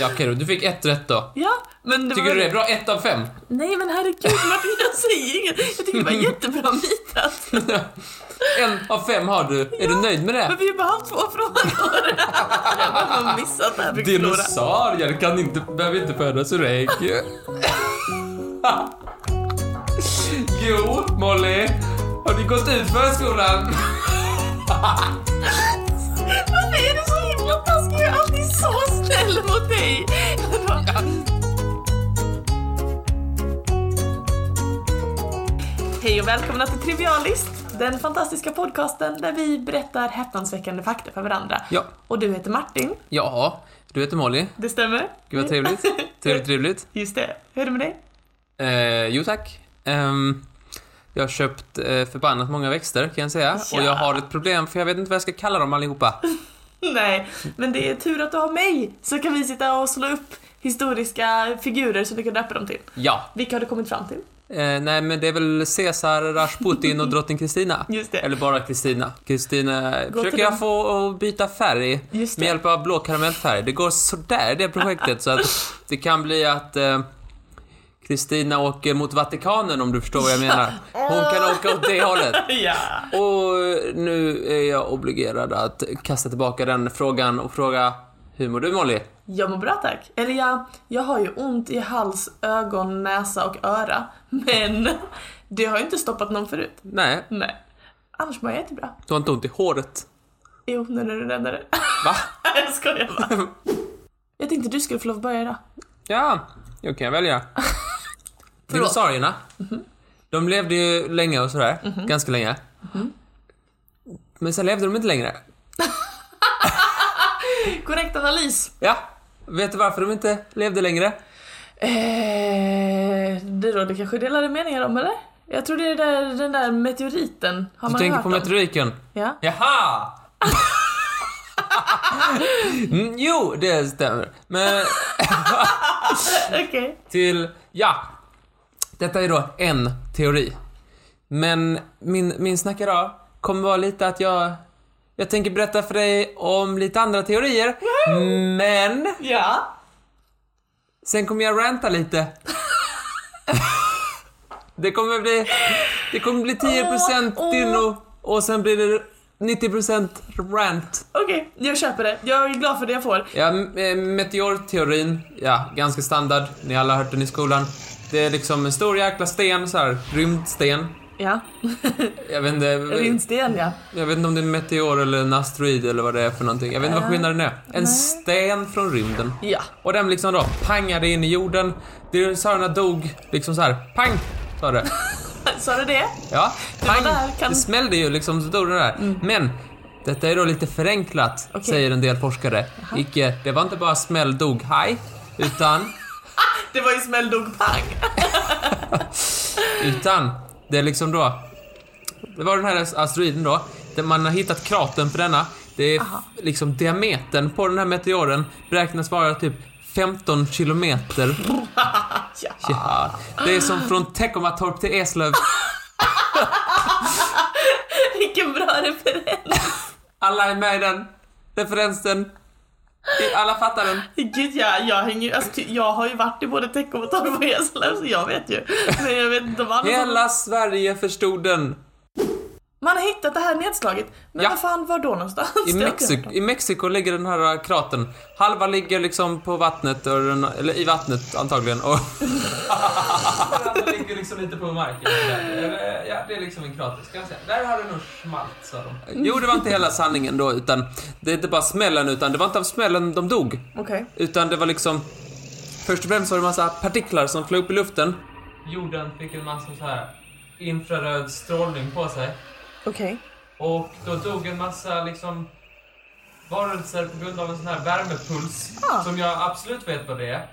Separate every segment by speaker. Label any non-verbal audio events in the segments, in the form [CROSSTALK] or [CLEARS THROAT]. Speaker 1: Ja, okej då. Du fick ett rätt då.
Speaker 2: Ja, men det
Speaker 1: Tycker
Speaker 2: var...
Speaker 1: du det är bra? Ett av fem? [LAUGHS]
Speaker 2: Nej men herregud Martin, jag säger inget. Jag tycker det var jättebra nitat.
Speaker 1: En av fem har du. Är du nöjd med
Speaker 2: Men
Speaker 1: det?
Speaker 2: vi har ju bara haft två frågor. Jag har missat det här. fick förlora.
Speaker 1: Dinosaurier kan inte, behöver inte födas ur ägg. [LAUGHS] jo, Molly. Har du gått ut förskolan?
Speaker 2: Varför är du så himla taskig? Jag är alltid så snäll mot dig. Hej och välkomna till Trivialist, den fantastiska podcasten där vi berättar häpnadsväckande fakta för varandra.
Speaker 1: Ja.
Speaker 2: Och du heter Martin,
Speaker 1: Ja, du heter Molly.
Speaker 2: det stämmer?
Speaker 1: Gud vad
Speaker 2: [LAUGHS]
Speaker 1: trevligt. Trevligt, trevligt.
Speaker 2: Just det. Hur är det med dig?
Speaker 1: Eh, jo tack. Ehm, jag har köpt eh, förbannat många växter kan jag säga.
Speaker 2: Ja.
Speaker 1: Och jag har ett problem för jag vet inte vad jag ska kalla dem allihopa.
Speaker 2: Nej, men det är tur att du har mig så kan vi sitta och slå upp historiska figurer som du kan döpa dem till.
Speaker 1: Ja.
Speaker 2: Vilka har du kommit fram till?
Speaker 1: Eh, nej men det är väl Caesar, Rasputin och drottning Kristina.
Speaker 2: [LAUGHS] Just det.
Speaker 1: Eller bara Kristina. Kristina eh,
Speaker 2: Gå
Speaker 1: försöker
Speaker 2: till
Speaker 1: jag
Speaker 2: dem.
Speaker 1: få att byta färg
Speaker 2: Just det.
Speaker 1: med hjälp av blå karamellfärg. Det går sådär det projektet så att det kan bli att eh, Kristina åker mot Vatikanen om du förstår vad jag menar. Hon kan åka åt det hållet.
Speaker 2: Ja.
Speaker 1: Och nu är jag obligerad att kasta tillbaka den frågan och fråga Hur mår du Molly?
Speaker 2: Jag mår bra tack. Eller jag, jag har ju ont i hals, ögon, näsa och öra. Men det har ju inte stoppat någon förut.
Speaker 1: Nej,
Speaker 2: Nej. Annars mår jag jättebra.
Speaker 1: du har inte ont i håret.
Speaker 2: Jo, nu när du räddar det. [LAUGHS]
Speaker 1: Va?
Speaker 2: jag skojar bara. Jag tänkte du skulle få lov att börja idag.
Speaker 1: Ja, jag kan välja. Dinosaurierna. Mm-hmm. De levde ju länge och sådär. Ganska länge. Men sen levde de inte längre.
Speaker 2: Korrekt analys.
Speaker 1: Ja. Vet du varför de inte levde längre?
Speaker 2: Eh, det råder kanske delade meningar om eller? Jag tror det är där, den där meteoriten. Har
Speaker 1: Du
Speaker 2: man
Speaker 1: tänker
Speaker 2: hört
Speaker 1: på
Speaker 2: om?
Speaker 1: meteoriken.
Speaker 2: Ja. [LAUGHS]
Speaker 1: Jaha! mm, jo, det stämmer. Men
Speaker 2: Okej.
Speaker 1: till... Ja! Detta är då en teori. Men min, min snack idag kommer vara lite att jag... Jag tänker berätta för dig om lite andra teorier. Men
Speaker 2: Ja.
Speaker 1: sen kommer jag ranta lite. [LAUGHS] det kommer bli... Det kommer bli 10%
Speaker 2: Åh, åh.
Speaker 1: dino och sen blir det 90% rant.
Speaker 2: Okej, jag köper det. Jag är glad för det jag får.
Speaker 1: Ja, m- eh, meteorteorin, ja, ganska standard. Ni alla har hört den i skolan. Det är liksom en stor jäkla sten, så här, rymdsten.
Speaker 2: Ja. [LAUGHS]
Speaker 1: Jag vet inte,
Speaker 2: Rindsten ja.
Speaker 1: jag vet inte om det är en meteor eller en asteroid eller vad det är för någonting. Jag vet inte vad skillnaden är. En sten från rymden.
Speaker 2: Ja.
Speaker 1: Och den liksom då pangade in i jorden. Dinosaurierna dog liksom så här, pang! Sa
Speaker 2: [LAUGHS]
Speaker 1: det.
Speaker 2: Sa du det?
Speaker 1: Ja,
Speaker 2: var
Speaker 1: pang!
Speaker 2: där, kan- Mm.
Speaker 1: Det smällde ju liksom så dog den där. Men detta är då lite förenklat,
Speaker 2: Okej.
Speaker 1: säger en del forskare. Icke, det var inte bara smäll, dog, haj. Utan
Speaker 2: Det var ju smäll, dog, pang.
Speaker 1: Utan det är liksom då... Det var den här asteroiden då. Där man har hittat kratern för denna. Det är f- liksom diametern på den här meteoren beräknas vara typ 15 kilometer.
Speaker 2: Ja.
Speaker 1: Ja. Det är som från Teckomatorp till Eslöv.
Speaker 2: [LAUGHS] Vilken bra referens.
Speaker 1: Alla är med i den referensen. I- Alla fattar den.
Speaker 2: Gud ja, jag hänger ju, alltså, ty- jag har ju varit i både Teckomatorp och Eslöv så jag vet ju. Men jag vet inte om alla
Speaker 1: Hela Sverige förstod den.
Speaker 2: Man har hittat det här nedslaget. Men
Speaker 1: Ja.
Speaker 2: vad fan var då någonstans?
Speaker 1: I,
Speaker 2: Det har jag inte hört
Speaker 1: Mexiko,
Speaker 2: om.
Speaker 1: I Mexiko ligger den här äh, kratern. Halva ligger liksom på vattnet, och den, eller i vattnet antagligen. Och den andra ligger liksom lite på marken. Eller, Ja, det är liksom en krater. Ska man säga. Där har det nog smalt, sa de. Jo, det var inte hela sanningen då, utan det är inte bara smällen, utan det var inte av smällen de dog.
Speaker 2: Okej.
Speaker 1: Utan det var liksom... Först och främst var det en massa partiklar som flög upp i luften. Jorden fick en massa så här infraröd strålning på sig.
Speaker 2: Okej.
Speaker 1: Och då dog en massa liksom varelser på grund av en sån här värmepuls
Speaker 2: Ah.
Speaker 1: som jag absolut vet vad det är.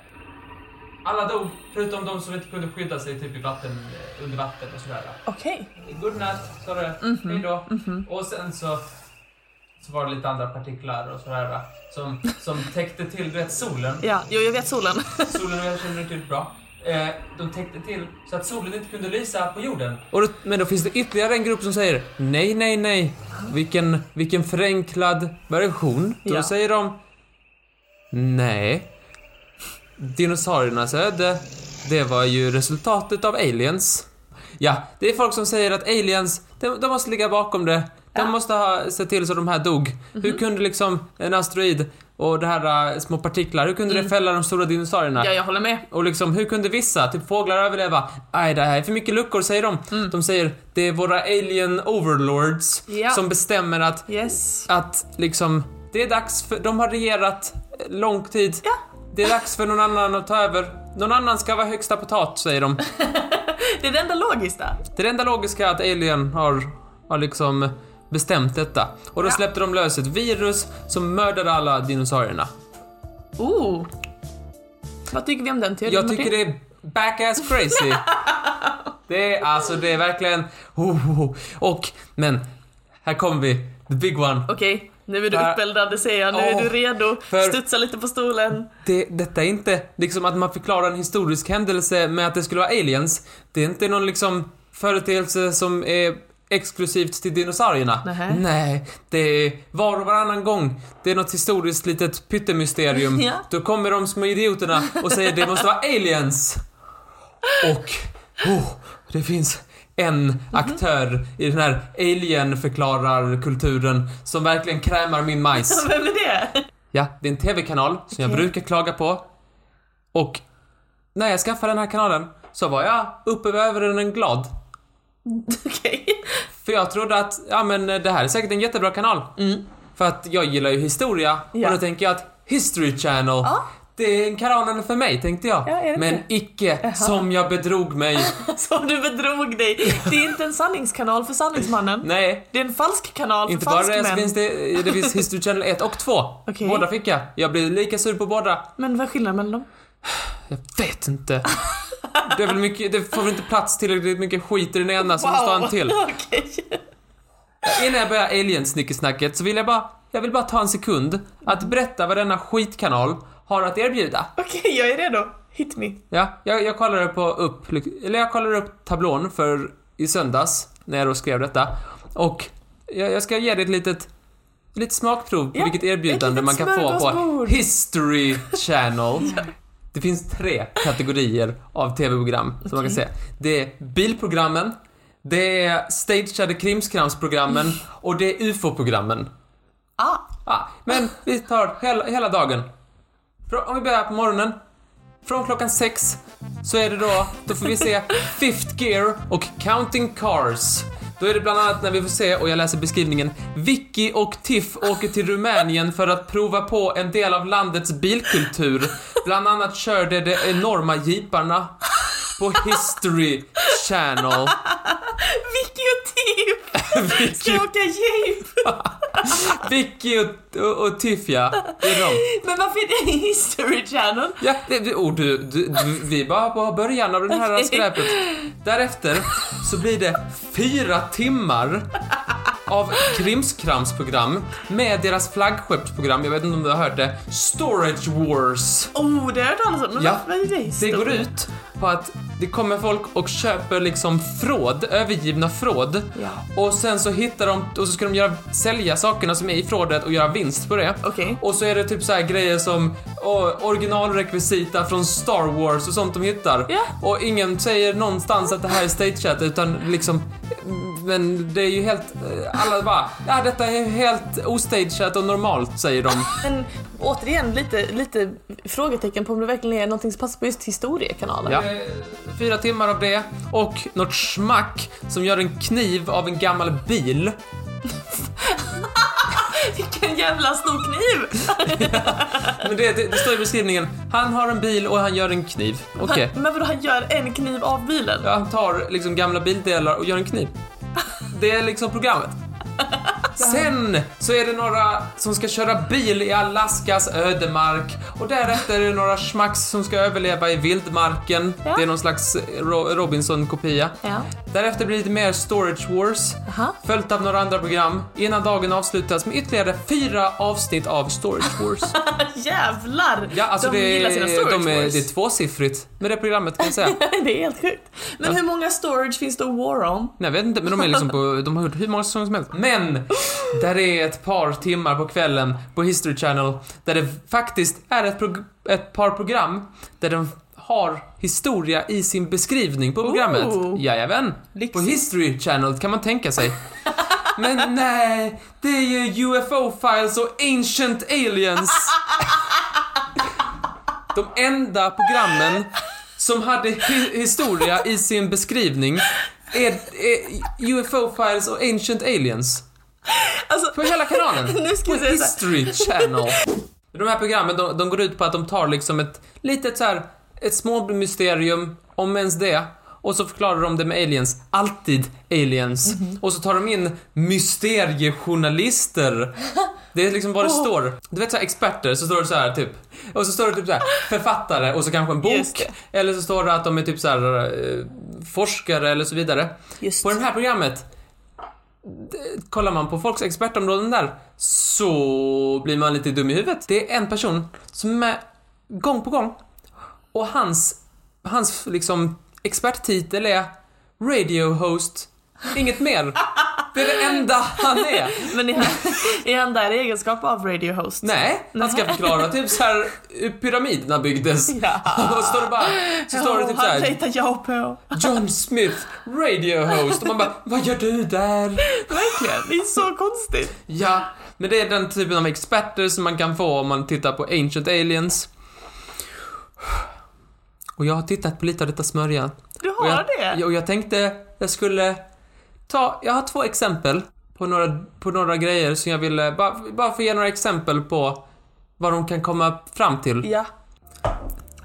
Speaker 1: Alla dog, förutom de som inte kunde skydda sig typ i vatten, eh, under vatten och sådär.
Speaker 2: Okej.
Speaker 1: Godnatt, sa du. Hejdå. Och sen så, så var det lite andra partiklar och sådär va, som, som täckte till rätt solen.
Speaker 2: Ja, jo, jag vet solen.
Speaker 1: Solen och jag känner till bra. Eh, de täckte till så att solen inte kunde lysa på jorden. Och då, men då finns det ytterligare en grupp som säger nej, nej, nej. Vilken, vilken förenklad version. Då
Speaker 2: Ja.
Speaker 1: säger de nej. dinosauriernas öde, det var ju resultatet av aliens. Ja, det är folk som säger att aliens, de, de måste ligga bakom det. De
Speaker 2: Ja.
Speaker 1: måste ha sett till så de här dog. Hur kunde liksom en asteroid och det här äh, små partiklar, hur kunde det fälla de stora dinosaurierna?
Speaker 2: Ja, jag håller med.
Speaker 1: Och liksom, hur kunde vissa, typ fåglar, överleva? Nej, det här är för mycket luckor, säger de. De säger, det är våra alien overlords
Speaker 2: Mm. Ja.
Speaker 1: som bestämmer att,
Speaker 2: Yes.
Speaker 1: att liksom, det är dags för, de har regerat eh, lång tid.
Speaker 2: Ja.
Speaker 1: Det är dags för någon annan att ta över. Någon annan ska vara högsta potat, säger de.
Speaker 2: Det är det enda logiska.
Speaker 1: Det är det enda logiska är att alien har, har liksom bestämt detta. Och då
Speaker 2: Ja.
Speaker 1: släppte de lös ett virus som mördade alla dinosaurierna.
Speaker 2: Oh. Vad tycker vi om den teorin?
Speaker 1: Jag tycker det är back-ass crazy. Det är alltså, det är verkligen... Oh, oh, oh. Och, men, här kommer vi. The big one.
Speaker 2: Okej, nu är du
Speaker 1: Där.
Speaker 2: uppeldad, det ser jag. Nu
Speaker 1: Åh,
Speaker 2: är du redo.
Speaker 1: för-
Speaker 2: Studsa lite på stolen. [LAUGHS]
Speaker 1: Det, detta är inte liksom att man förklarar en historisk händelse med att det skulle vara aliens. Det är inte någon liksom företeelse som är exklusivt till dinosaurierna.
Speaker 2: Nähä.
Speaker 1: Nej, det är var och varannan gång. Det är något historiskt litet pyttemysterium.
Speaker 2: [LAUGHS] Ja.
Speaker 1: Då kommer de små idioterna och säger det måste vara aliens. Och, oh, det finns
Speaker 2: Mhm.
Speaker 1: en aktör i den här alien-förklarar-kulturen som verkligen krämar min majs.
Speaker 2: Vem är det? [LAUGHS]
Speaker 1: Ja, det är en TV-kanal som jag
Speaker 2: Okej.
Speaker 1: brukar klaga på. Och när jag skaffade den här kanalen så var jag uppe över den glad.
Speaker 2: Okej.
Speaker 1: För jag trodde att, ja men eh, det här är säkert en jättebra kanal. För att jag gillar ju historia
Speaker 2: Mm. Ja.
Speaker 1: och då tänker jag att History Channel,
Speaker 2: Ja.
Speaker 1: det är en kanalen för mig tänkte jag.
Speaker 2: Ja, är det
Speaker 1: men
Speaker 2: det?
Speaker 1: icke, som jag bedrog
Speaker 2: [LAUGHS]
Speaker 1: mig.
Speaker 2: Som du bedrog dig. Det är inte en sanningskanal för sanningsmannen.
Speaker 1: Nej.
Speaker 2: Det är en falsk kanal för
Speaker 1: Inte bara det, så
Speaker 2: falskmän.
Speaker 1: finns det, det finns History Channel 1 och 2.
Speaker 2: [LAUGHS] Okej.
Speaker 1: Båda fick jag. Jag blir lika sur på båda.
Speaker 2: Men vad är skillnaden mellan dem?
Speaker 1: Jag vet inte. Det, är väl mycket, det får väl inte plats tillräckligt mycket skit i den ena så Alltså, måste ha en till.
Speaker 2: [LAUGHS] Okej.
Speaker 1: Innan jag börjar alien-snickesnacket så vill jag bara, jag vill bara ta en sekund att berätta vad denna skitkanal har att erbjuda.
Speaker 2: Okej, jag är redo. Hit me.
Speaker 1: Ja, jag, jag kollade på upp, eller jag kollade upp tablån för i söndags när jag då skrev detta och jag, jag ska ge dig ett litet lite smakprov på
Speaker 2: Ja,
Speaker 1: vilket erbjudande
Speaker 2: ett litet
Speaker 1: man kan få på
Speaker 2: smörgåsbord.
Speaker 1: History
Speaker 2: [LAUGHS]
Speaker 1: Channel. Det finns tre kategorier av TV-program som man kan se. Det är bilprogrammen, det är stageade krimskramsprogrammen och det är UFO-programmen.
Speaker 2: Ah,
Speaker 1: Ja, men vi tar hela, hela dagen. Frå- Om vi börjar på morgonen. Från klockan sex så är det då, då får vi se Fifth Gear och Counting Cars. Då är det bland annat när vi får se, och jag läser beskrivningen, Vicky och Tiff åker till Rumänien för att prova på en del av landets bilkultur. Bland annat körde de enorma jeeparna på History Channel.
Speaker 2: vilken typ! Ska
Speaker 1: Vicky,
Speaker 2: jag åka jeep?
Speaker 1: Vicky och, och, och Tiff ja, det är de.
Speaker 2: Men varför är det History Channel?
Speaker 1: Ja, det, oh, du, du, du, vi är bara på början av den här
Speaker 2: Okej.
Speaker 1: skräpet. Därefter så blir det fyra timmar av krimskramsprogram med deras flaggskeppsprogram, jag vet inte om du har hört det, Storage Wars.
Speaker 2: Oh, det har jag hört talas om. Men
Speaker 1: Ja,
Speaker 2: varför är det
Speaker 1: Det
Speaker 2: History?
Speaker 1: går ut på att det kommer folk och köper liksom fråd, övergivna fråd.
Speaker 2: Ja.
Speaker 1: Och sen så hittar de, och så ska de göra, sälja sakerna som är i frådet och göra vinst på det.
Speaker 2: Okej.
Speaker 1: Och så är det typ så här grejer som å, originalrekvisita från Star Wars och sånt de hittar.
Speaker 2: Ja.
Speaker 1: Och ingen säger någonstans att det här är stageat utan liksom men det är ju helt, eh, alla bara, ja detta är helt ostageat och normalt säger [LAUGHS] de.
Speaker 2: Men återigen lite, lite frågetecken på om det verkligen är någonting som passar på just historiekanalen.
Speaker 1: Ja. Eh, Fyra timmar av det och något smack som gör en kniv av en gammal bil.
Speaker 2: Vilken jävla stor kniv!
Speaker 1: Men det, det, det står i beskrivningen, han har en bil och han gör en kniv. [LAUGHS] Okej.
Speaker 2: Han, men vadå, han gör en kniv av bilen?
Speaker 1: Ja, han tar liksom gamla bildelar och gör en kniv. Det är liksom programmet. Sen så är det några som ska köra bil i Alaskas ödemark och därefter är det några schmacks som ska överleva i vildmarken.
Speaker 2: Ja.
Speaker 1: Det är någon slags Ro- Robinson-kopia.
Speaker 2: Ja.
Speaker 1: Därefter blir det lite mer Storage Wars,
Speaker 2: Aha.
Speaker 1: följt av några andra program innan dagen avslutas med ytterligare fyra avsnitt av Storage
Speaker 2: [LAUGHS]
Speaker 1: Wars.
Speaker 2: Jävlar!
Speaker 1: Ja, alltså
Speaker 2: de
Speaker 1: det,
Speaker 2: gillar sina storage
Speaker 1: de är,
Speaker 2: wars.
Speaker 1: det är tvåsiffrigt med det programmet kan jag säga.
Speaker 2: [LAUGHS] det är helt sjukt. Men hur många storage finns det att war on?
Speaker 1: Nej, jag vet inte, men de är liksom på, de har gjort hur många säsonger som helst. Men! Där det är ett par timmar på kvällen på History Channel där det faktiskt är ett, prog- ett par program där de har historia i sin beskrivning på programmet.
Speaker 2: Ooh.
Speaker 1: Jajamän. På
Speaker 2: Lyxigt.
Speaker 1: History Channel kan man tänka sig. Men nej, det är ju UFO-files och ancient aliens. De enda programmen som hade hi- historia i sin beskrivning är, är UFO-files och ancient aliens.
Speaker 2: Alltså,
Speaker 1: På hela kanalen.
Speaker 2: [LAUGHS] Nu ska
Speaker 1: på
Speaker 2: jag säga så här.
Speaker 1: History Channel. De här programmen, de, de går ut på att de tar liksom ett litet så här, ett småmysterium, om ens det, och så förklarar de det med aliens. Alltid aliens.
Speaker 2: Mhm.
Speaker 1: Och så tar de in mysteriejournalister. Det är liksom vad det står. Du vet så här, experter, så står det så här typ. Och så står det typ så här författare och så kanske en
Speaker 2: Just
Speaker 1: bok.
Speaker 2: det.
Speaker 1: Eller så står det att de är typ så här eh, forskare eller så vidare.
Speaker 2: just
Speaker 1: På det här programmet d- Kollar man på folks expertområden där så blir man lite dum i huvudet. Det är en person som är gång på gång och hans, hans liksom experttitel är radio host, inget mer. Det är det enda han är.
Speaker 2: Men är han, är han där i egenskap av radio host?
Speaker 1: Nej, han ska förklara typ så här hur pyramiderna byggdes.
Speaker 2: Ja.
Speaker 1: Och så står det bara, så står det typ så
Speaker 2: han
Speaker 1: här
Speaker 2: litar jag på.
Speaker 1: John Smith, radio host. Och man bara, vad gör du där?
Speaker 2: Verkligen, det är så konstigt.
Speaker 1: Ja, men det är den typen av experter som man kan få om man tittar på Ancient Aliens. Och jag har tittat på lite av detta smörja.
Speaker 2: Du har
Speaker 1: Och jag,
Speaker 2: det?
Speaker 1: ja, Och jag tänkte jag skulle ta, jag har två exempel på några, på några grejer som jag ville, bara, bara få ge några exempel på vad de kan komma fram till.
Speaker 2: Ja.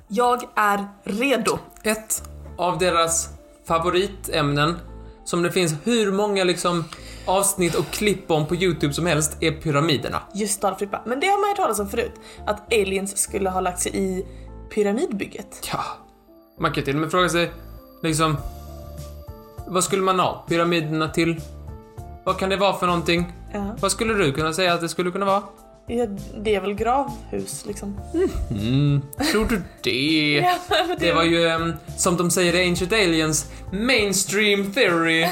Speaker 2: Jag är redo.
Speaker 1: ett av deras favoritämnen som det finns hur många liksom avsnitt och klipp om på YouTube som helst är pyramiderna.
Speaker 2: Just Dalfrippa. Men det har man ju talat om förut. Att aliens skulle ha lagt sig i pyramidbygget.
Speaker 1: Ja, man kan ju till och med fråga sig liksom vad skulle man ha pyramiderna till? Vad kan det vara för någonting?
Speaker 2: Ja.
Speaker 1: Vad skulle du kunna säga att det skulle kunna vara?
Speaker 2: Ja, Det är väl gravhus liksom.
Speaker 1: Mm, tror du det?
Speaker 2: Ja, men [LAUGHS] det-
Speaker 1: Det var ju, ehm, som de säger i Ancient Aliens, mainstream theory.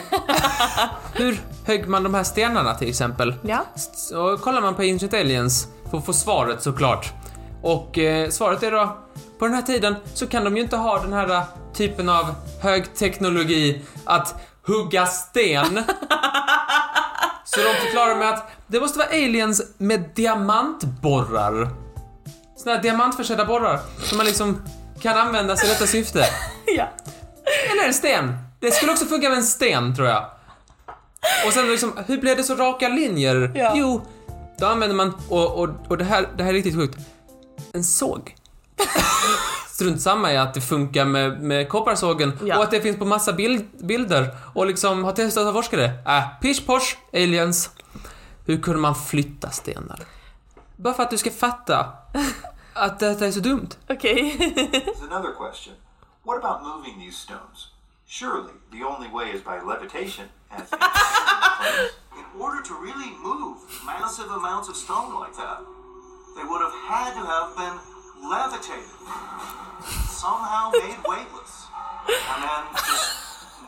Speaker 1: Hur högg man de här stenarna till exempel?
Speaker 2: Ja.
Speaker 1: Så kollar man på Ancient Aliens för att få svaret såklart. Och eh, svaret är då, på den här tiden så kan de ju inte ha den här eh, typen av högteknologi att hugga sten. så de förklarar med att det måste vara aliens med diamantborrar. Såna här diamantförsedda borrar som man liksom kan använda sig i detta syfte.
Speaker 2: ja.
Speaker 1: Eller en sten. Det skulle också funka med en sten tror jag. Och sen liksom, hur blev det så raka linjer?
Speaker 2: Ja.
Speaker 1: Jo, då använder man, och, och, och det, här, det här är riktigt sjukt, en såg. [LAUGHS] Strunt samma i att det funkar med, med kopparsågen
Speaker 2: Ja.
Speaker 1: och att det finns på massa bild, bilder och liksom har testats av forskare. Äh, pish posh, aliens. Hur kunde man flytta stenar? Bara för att du ska fatta att detta är så dumt.
Speaker 2: Okej. [LAUGHS]
Speaker 3: is another question. What about moving these stones? Surely the only way is by levitation, as the claims. In order to really move massive amounts of stone like that, they would have had to have been levitated, somehow made weightless, and then just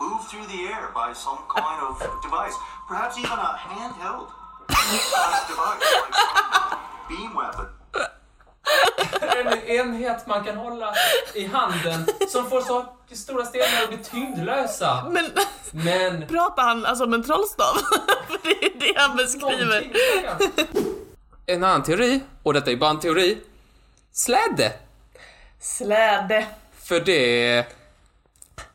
Speaker 3: moved through the air by some kind of device, perhaps even a handheld kind of device, like some beam weapon.
Speaker 1: en enhet man kan hålla i handen som får så stora stenar att bli tyngdlösa.
Speaker 2: Men [LAUGHS]
Speaker 1: Men...
Speaker 2: pratar han alltså om en trollstav? [LAUGHS] För det är det han beskriver.
Speaker 1: En annan teori, och detta är bara en teori. Släde.
Speaker 2: Släde.
Speaker 1: För det...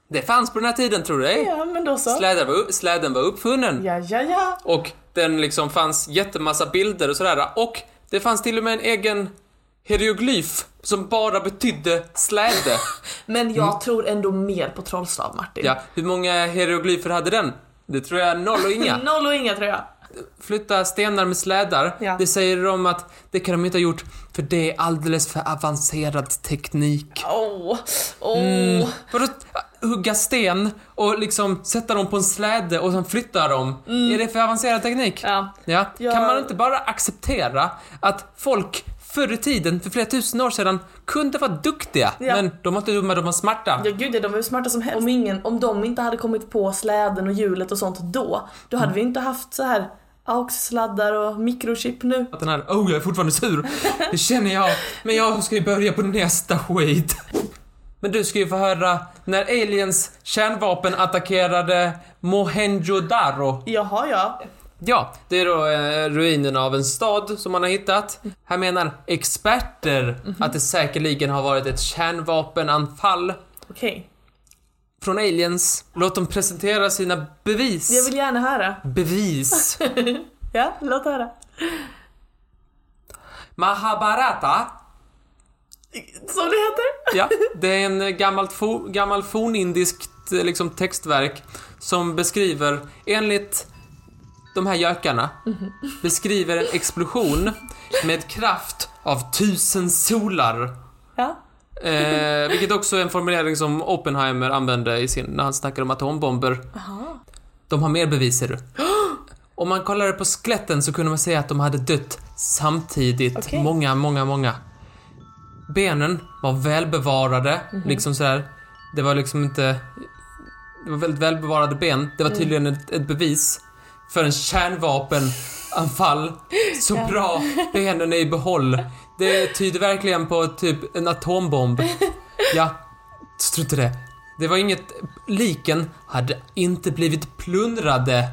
Speaker 1: Det fanns på den här tiden, tror du ej?
Speaker 2: Ja, men då så.
Speaker 1: Släden var, upp- släden var uppfunnen.
Speaker 2: Ja, ja, ja.
Speaker 1: Och den liksom fanns jättemassa bilder och sådär. Och det fanns till och med en egen hieroglyf som bara betydde släde.
Speaker 2: Men jag tror ändå mer på trollstav, Martin.
Speaker 1: Mm. Ja, hur många hieroglyfer hade den? Det tror jag noll och inga.
Speaker 2: Noll och inga tror jag.
Speaker 1: flytta stenar med slädar.
Speaker 2: Ja.
Speaker 1: Det säger de att det kan de inte ha gjort för det är alldeles för avancerad teknik.
Speaker 2: Åh, åh.
Speaker 1: Vadå hugga sten och liksom sätta dem på en släde och sen flytta dem? Är det för avancerad teknik?
Speaker 2: Mm. Ja.
Speaker 1: Ja.
Speaker 2: Ja.
Speaker 1: Kan man inte bara acceptera att folk förr i tiden, för flera tusen år sedan, kunde vara duktiga.
Speaker 2: Ja.
Speaker 1: Men de var inte dumma, de var smarta.
Speaker 2: Ja gud ja, de var ju smarta som helst. Om, ingen, om de inte hade kommit på släden och hjulet och sånt då, då hade vi inte haft så här AUX-sladdar och mikrochip nu.
Speaker 1: Att den här, oh jag är fortfarande sur. Det känner jag. Men jag ska ju börja på nästa skit. Men du ska ju få höra när aliens kärnvapen attackerade Mohenjo-Daro.
Speaker 2: Jaha ja.
Speaker 1: Ja, det är då eh, ruinerna av en stad som man har hittat. Här menar experter att det säkerligen har varit ett kärnvapenanfall
Speaker 2: Okej.
Speaker 1: från aliens. Låt dem presentera sina bevis.
Speaker 2: Jag vill gärna höra.
Speaker 1: Bevis.
Speaker 2: Ja, låt höra.
Speaker 1: Mahabharata
Speaker 2: Som det heter?
Speaker 1: Ja, det är en gammal, fo, gammal fornindiskt eh, liksom, textverk som beskriver, enligt de här gökarna, beskriver en explosion med kraft av tusen solar.
Speaker 2: Ja.
Speaker 1: Eh, vilket också är en formulering som Oppenheimer använde i sin, när han snackade om atombomber. De har mer bevis, ser du. Om man kollade på skeletten så kunde man säga att de hade dött samtidigt.
Speaker 2: Okej.
Speaker 1: Många, många, många. Benen var välbevarade, liksom sådär. Det var liksom inte... Det var väldigt välbevarade ben. Det var tydligen ett, ett bevis för en kärnvapenanfall. Så bra! Benen är i behåll. Det tyder verkligen på typ en atombomb. Ja, tror inte det. Det var inget... Liken hade inte blivit plundrade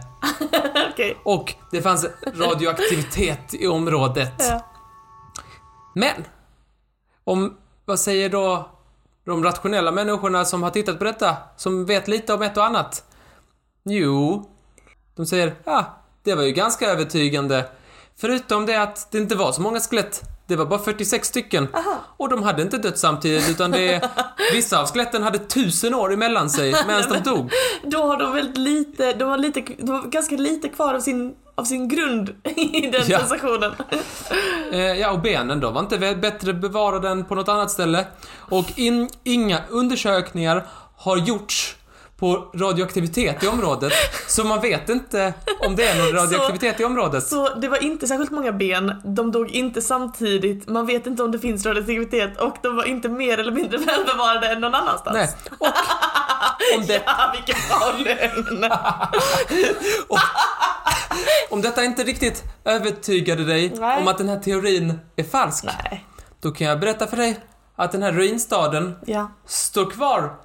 Speaker 2: Okej.
Speaker 1: och det fanns radioaktivitet i området.
Speaker 2: Ja.
Speaker 1: Men, om, vad säger då de rationella människorna som har tittat på detta, som vet lite om ett och annat? Jo, de säger, ja, det var ju ganska övertygande. Förutom det att det inte var så många skelett, det var bara 46 stycken. Och de hade inte dött samtidigt, utan det, vissa av skeletten hade tusen år emellan sig medan de dog.
Speaker 2: Då har de väldigt lite, de har lite, de har ganska lite kvar av sin, av sin grund i den
Speaker 1: Ja.
Speaker 2: sensationen.
Speaker 1: Eh, ja, och benen då var inte vä- bättre bevarade än på något annat ställe. Och in, inga undersökningar har gjorts på radioaktivitet i området. Så man vet inte om det är
Speaker 2: [LAUGHS]
Speaker 1: någon radioaktivitet i området.
Speaker 2: Så det var inte särskilt många ben, de dog inte samtidigt, man vet inte om det finns radioaktivitet och de var inte mer eller mindre [LAUGHS] välbevarade än någon annanstans. [LAUGHS]
Speaker 1: Nej. Och om, det,
Speaker 2: Ja, vilken bra lögn!
Speaker 1: om detta inte riktigt övertygade dig
Speaker 2: Nej.
Speaker 1: om att den här teorin är falsk,
Speaker 2: Nej.
Speaker 1: då kan jag berätta för dig att den här ruinstaden
Speaker 2: [LAUGHS] Ja.
Speaker 1: står kvar.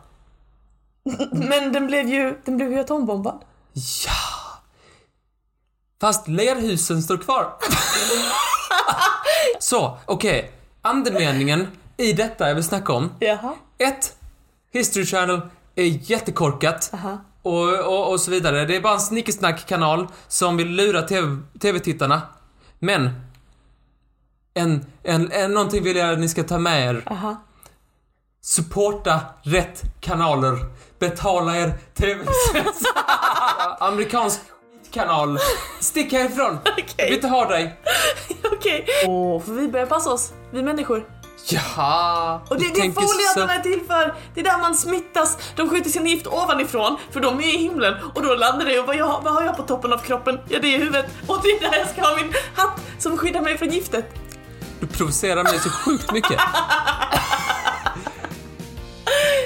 Speaker 2: Men den blev ju, den blev ju atombombad.
Speaker 1: Ja. Fast lerhusen står kvar. Så, okej. Andemeningen i detta jag vill snacka om.
Speaker 2: Jaha.
Speaker 1: Ett, History Channel är jättekorkat.
Speaker 2: Aha.
Speaker 1: Och, och, och så vidare. Det är bara en snickesnack-kanal som vill lura TV tv-tittarna. Men, en, en, en, någonting vill jag att ni ska ta med er.
Speaker 2: Aha.
Speaker 1: Supporta rätt kanaler. Betala er
Speaker 2: [LAUGHS]
Speaker 1: tv Amerikansk kanal. Stick härifrån. Vi vill
Speaker 2: [LAUGHS] Okej.
Speaker 1: inte ha dig.
Speaker 2: [LAUGHS] Okej. Åh, får vi börja passa oss, vi människor.
Speaker 1: Jaha.
Speaker 2: Och det
Speaker 1: du
Speaker 2: är det
Speaker 1: tänker
Speaker 2: foliehattarna
Speaker 1: så.
Speaker 2: är till för! Det är där man smittas, de skjuter sin gift ovanifrån, för de är i himlen. Och då landar det och vad, jag, vad har jag på toppen av kroppen? Ja, det är huvudet. Och det är där jag ska ha min hatt som skyddar mig från giftet.
Speaker 1: Du provocerar mig så sjukt mycket.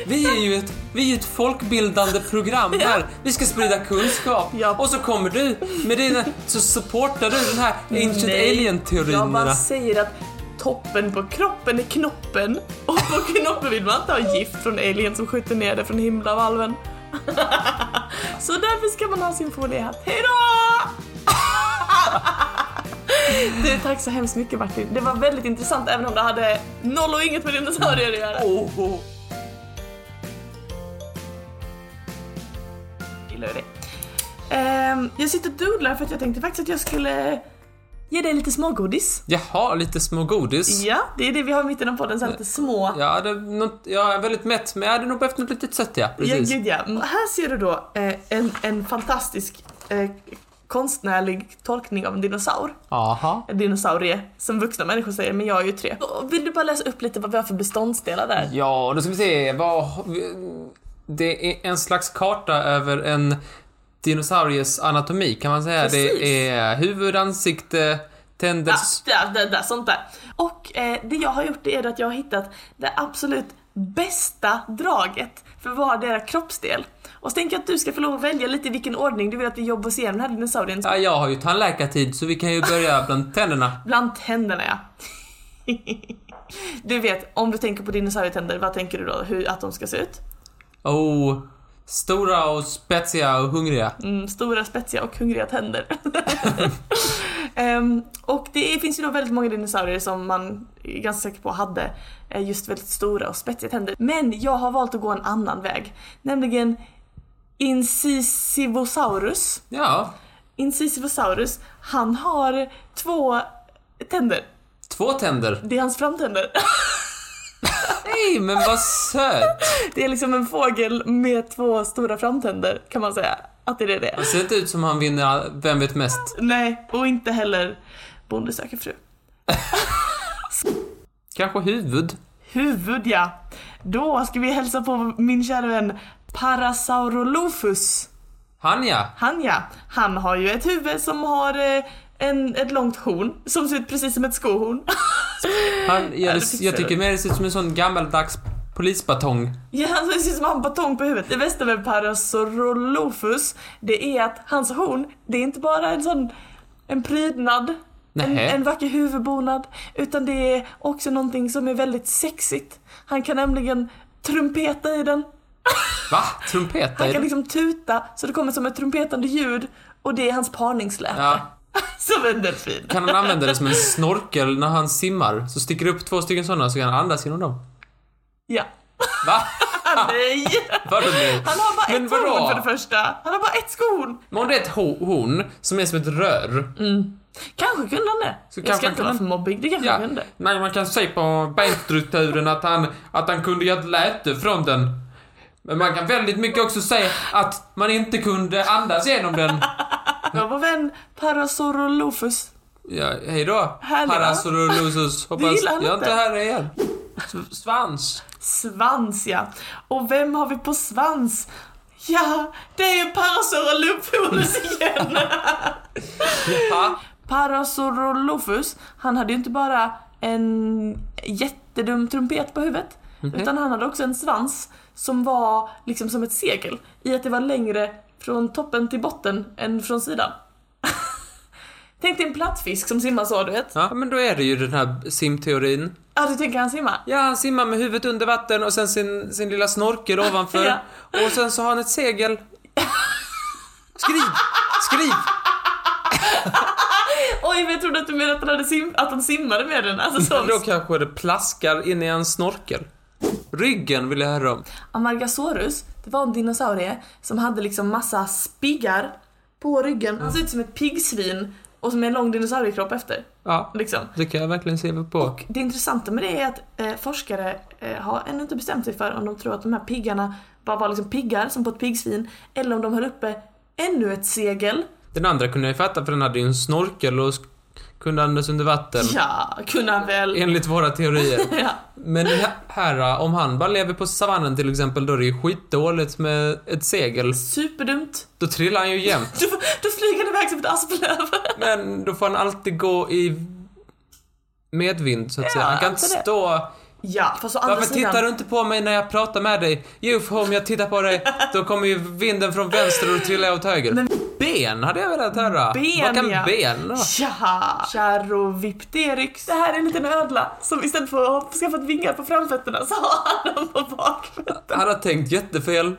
Speaker 1: Vi är ju ett, vi är ju ett folkbildande program här. Vi ska sprida kunskap.
Speaker 2: Ja.
Speaker 1: Och så kommer du med dina... Så supportar du den här ancient
Speaker 2: Nej, Jag bara
Speaker 1: alien-teorin.
Speaker 2: säger att toppen på kroppen är knoppen. Och på knoppen vill man inte ha gift från alien som skjuter ner det från himlavalven. Så därför ska man ha sin foliehatt. Hejdå! Du, tack så hemskt mycket Martin. Det var väldigt intressant även om det hade noll och inget med dinosaurier att göra.
Speaker 1: Åh, åh.
Speaker 2: Jag gillar ju det. Ehm, jag sitter och doodlar för att jag tänkte faktiskt att jag skulle ge dig lite smågodis.
Speaker 1: Jaha, lite små godis.
Speaker 2: Ja, det är det vi har i mitten av podden, så här lite små
Speaker 1: Jag, hade något, jag är väldigt mätt, men jag hade nog behövt något litet sött, ja. Precis.
Speaker 2: Ja, gud ja. Mm. Här ser du då eh, en, en fantastisk eh, konstnärlig tolkning av en dinosaur.
Speaker 1: Aha.
Speaker 2: En dinosaurie, som vuxna människor säger, men jag är ju tre. Och Vill du bara läsa upp lite vad vi har för beståndsdelar där?
Speaker 1: Ja, då ska vi se. Vad, det är en slags karta över en dinosauries anatomi kan man säga.
Speaker 2: Precis. Ah.
Speaker 1: Det är huvud, ansikte,
Speaker 2: Ja,
Speaker 1: Tenders...
Speaker 2: där, där, där, sånt där. Och eh, det jag har gjort är att jag har hittat det absolut bästa draget för vardera kroppsdel. Och så tänker jag att du ska få lov att välja lite i vilken ordning du vill att vi jobbar oss igenom den här dinosaurien.
Speaker 1: Ja, jag har ju tandläkartid så vi kan ju börja bland [LAUGHS] tänderna.
Speaker 2: Bland tänderna ja. [LAUGHS] Du vet, om du tänker på dinosaurietänder, vad tänker du då? Hur, att de ska se ut?
Speaker 1: Oh, stora och spetsiga och hungriga.
Speaker 2: Mm, stora, spetsiga och hungriga tänder. [LAUGHS] Ehm, och det är, finns ju då väldigt många dinosaurier som man är ganska säker på hade eh, just väldigt stora och spetsiga tänder. Men jag har valt att gå en annan väg. Nämligen Incisivosaurus.
Speaker 1: Ja,
Speaker 2: Incisivosaurus, han har två tänder.
Speaker 1: två tänder.
Speaker 2: Det är hans framtänder. [LAUGHS]
Speaker 1: Nej, men vad söt!
Speaker 2: Det är liksom en fågel med två stora framtänder kan man säga. Att det är det.
Speaker 1: Det ser inte ut som han vinner Vem vet mest.
Speaker 2: Nej, och inte heller Bonde söker fru.
Speaker 1: Kanske huvud.
Speaker 2: Huvud ja. Då ska vi hälsa på min kära vän Parasaurolophus.
Speaker 1: Han ja.
Speaker 2: Han ja, han har ju ett huvud som har eh, en, ett långt horn som ser ut precis som ett skohorn. [LAUGHS]
Speaker 1: Han,
Speaker 2: Ja,
Speaker 1: jag,
Speaker 2: det fixar
Speaker 1: jag tycker
Speaker 2: du.
Speaker 1: mer det ser ut som en sån gammaldags polisbatong.
Speaker 2: Ja, han ser ut som han har en batong på huvudet. Det bästa med Parasaurolophus, det är att hans horn, det är inte bara en sån en prydnad, en,
Speaker 1: Nähä.
Speaker 2: en vacker huvudbonad, utan det är också någonting som är väldigt sexigt. Han kan nämligen trumpeta i den.
Speaker 1: Va? Trumpet?
Speaker 2: Han
Speaker 1: är
Speaker 2: kan
Speaker 1: det?
Speaker 2: liksom tuta så det kommer som ett trumpetande ljud och det är hans parningsläte.
Speaker 1: Ja.
Speaker 2: [LAUGHS] Som en delfin.
Speaker 1: Kan han använda det som en snorkel när han simmar? Så sticker det upp två stycken sådana så kan han andas genom dem.
Speaker 2: Ja. Ah,
Speaker 1: Va?
Speaker 2: Nej!
Speaker 1: Vadå nu?
Speaker 2: Han har bara
Speaker 1: Ah. Men
Speaker 2: ett
Speaker 1: vadå?
Speaker 2: horn för det första. Han har bara ett skohorn.
Speaker 1: Men om det är ett ho- horn som är som ett rör.
Speaker 2: Kanske kunde han det.
Speaker 1: Så
Speaker 2: jag
Speaker 1: kanske
Speaker 2: ska inte
Speaker 1: kunde
Speaker 2: vara
Speaker 1: han-
Speaker 2: för mobbig, det kanske
Speaker 1: Ja.
Speaker 2: han kunde.
Speaker 1: Nej, man kan se på benstrukturen att han, att han kunde göra ett läte från den. Men man kan väldigt mycket också säga att man inte kunde andas genom den.
Speaker 2: Det var vår vän Parasaurolophus.
Speaker 1: Ja, hej då.
Speaker 2: Härligt, va?
Speaker 1: Parasaurolophus. Hoppas
Speaker 2: gillar han
Speaker 1: jag är inte
Speaker 2: inte.
Speaker 1: här igen. S- Svans.
Speaker 2: Svans ja. Och vem har vi på svans? Ja, det är Parasaurolophus igen! [LAUGHS]
Speaker 1: Ja.
Speaker 2: Parasaurolophus, han hade ju inte bara en jättedum trumpet på huvudet. Utan han hade också en svans som var liksom som ett segel. I att det var längre från toppen till botten än från sidan. [LAUGHS] Tänk dig en plattfisk som simmar så du vet.
Speaker 1: ja, men då är det ju den här simteorin.
Speaker 2: Ja du tänker han simma?
Speaker 1: Ja, han simmar med huvudet under vatten och sen sin, sin lilla snorkel ovanför.
Speaker 2: Ja.
Speaker 1: Och sen så har han ett segel. Skriv! Skriv!
Speaker 2: Oj men jag trodde att du menade att han, hade sim- att han simmade med den. Alltså så.
Speaker 1: Då kanske det plaskar in i en snorkel. Ryggen vill jag höra om.
Speaker 2: Amargasaurus, det var en dinosaurie som hade liksom massa spiggar på ryggen. Han ser ut som ett piggsvin och som är en lång dinosauriekropp efter.
Speaker 1: Ja,
Speaker 2: Liksom.
Speaker 1: det kan jag verkligen se på.
Speaker 2: Det intressanta med det är att eh, forskare eh, har ännu inte bestämt sig för om de tror att de här piggarna bara var liksom piggar som på ett piggsvin eller om de höll uppe ännu ett segel.
Speaker 1: Den andra kunde jag ju fatta för den hade ju en snorkel och sk- kunde andas under vatten.
Speaker 2: Ja, kunna väl.
Speaker 1: Enligt våra teorier.
Speaker 2: Ja.
Speaker 1: Men här- här, om han bara lever på savannen till exempel, då är det ju skitdåligt med ett segel.
Speaker 2: Superdumt.
Speaker 1: Då trillar han ju jämt.
Speaker 2: Då, då flyger han iväg som ett asplöv. [LAUGHS]
Speaker 1: Men då får han alltid gå i medvind så att säga. Han kan inte
Speaker 2: alltså det.
Speaker 1: stå...
Speaker 2: Ja, fast å andra
Speaker 1: Varför tittar
Speaker 2: sidan.
Speaker 1: du inte på mig när jag pratar med dig? Jo, för om jag tittar på
Speaker 2: [LAUGHS]
Speaker 1: dig, då kommer ju vinden från vänster och då trillar jag åt höger.
Speaker 2: Men-
Speaker 1: Ben hade jag velat höra.
Speaker 2: Ben,
Speaker 1: Vad kan
Speaker 2: ja.
Speaker 1: ben då?
Speaker 2: Ja, Charovipteryx. Det här är en liten ödla som istället för att ha skaffat vingar på framfötterna så har han dem på bakfötterna.
Speaker 1: Han har tänkt jättefel.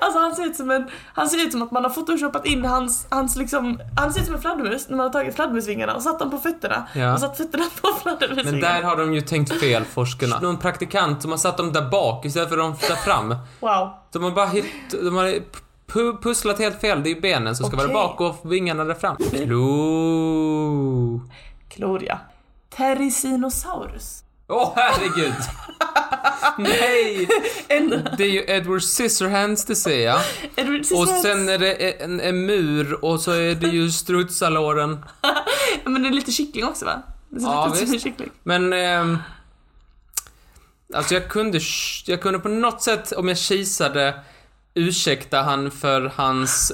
Speaker 2: Alltså han ser ut som en, han ser ut som att man har photoshopat in hans, hans liksom, han ser ut som en fladdermus när man har tagit fladdermusvingarna och satt dem på fötterna.
Speaker 1: Ja.
Speaker 2: Och satt fötterna på
Speaker 1: Men där
Speaker 2: fladdermusvingarna.
Speaker 1: har de ju tänkt fel, forskarna. Någon praktikant som har satt dem där bak istället för dem där fram.
Speaker 2: Wow.
Speaker 1: De har bara hitt, de har pu- pusslat helt fel. Det är ju benen som ska vara
Speaker 2: Okej.
Speaker 1: bak och vingarna där fram. Klo.
Speaker 2: Gloria. Terrisinosaurus.
Speaker 1: Åh, oh,
Speaker 2: [LAUGHS]
Speaker 1: herregud! Nej!
Speaker 2: En,
Speaker 1: Det är ju Edward Scissorhands det ser
Speaker 2: [LAUGHS]
Speaker 1: jag.
Speaker 2: Edward
Speaker 1: Och
Speaker 2: Scissorhands.
Speaker 1: sen är det en, en mur och så är det ju strutsalåren.
Speaker 2: Men det är lite kyckling också va? Det ser
Speaker 1: Ja,
Speaker 2: lite ut som en
Speaker 1: visst.
Speaker 2: kyckling.
Speaker 1: Men... ehm, alltså jag kunde, sh- jag kunde på något sätt, om jag kisade, ursäkta han för hans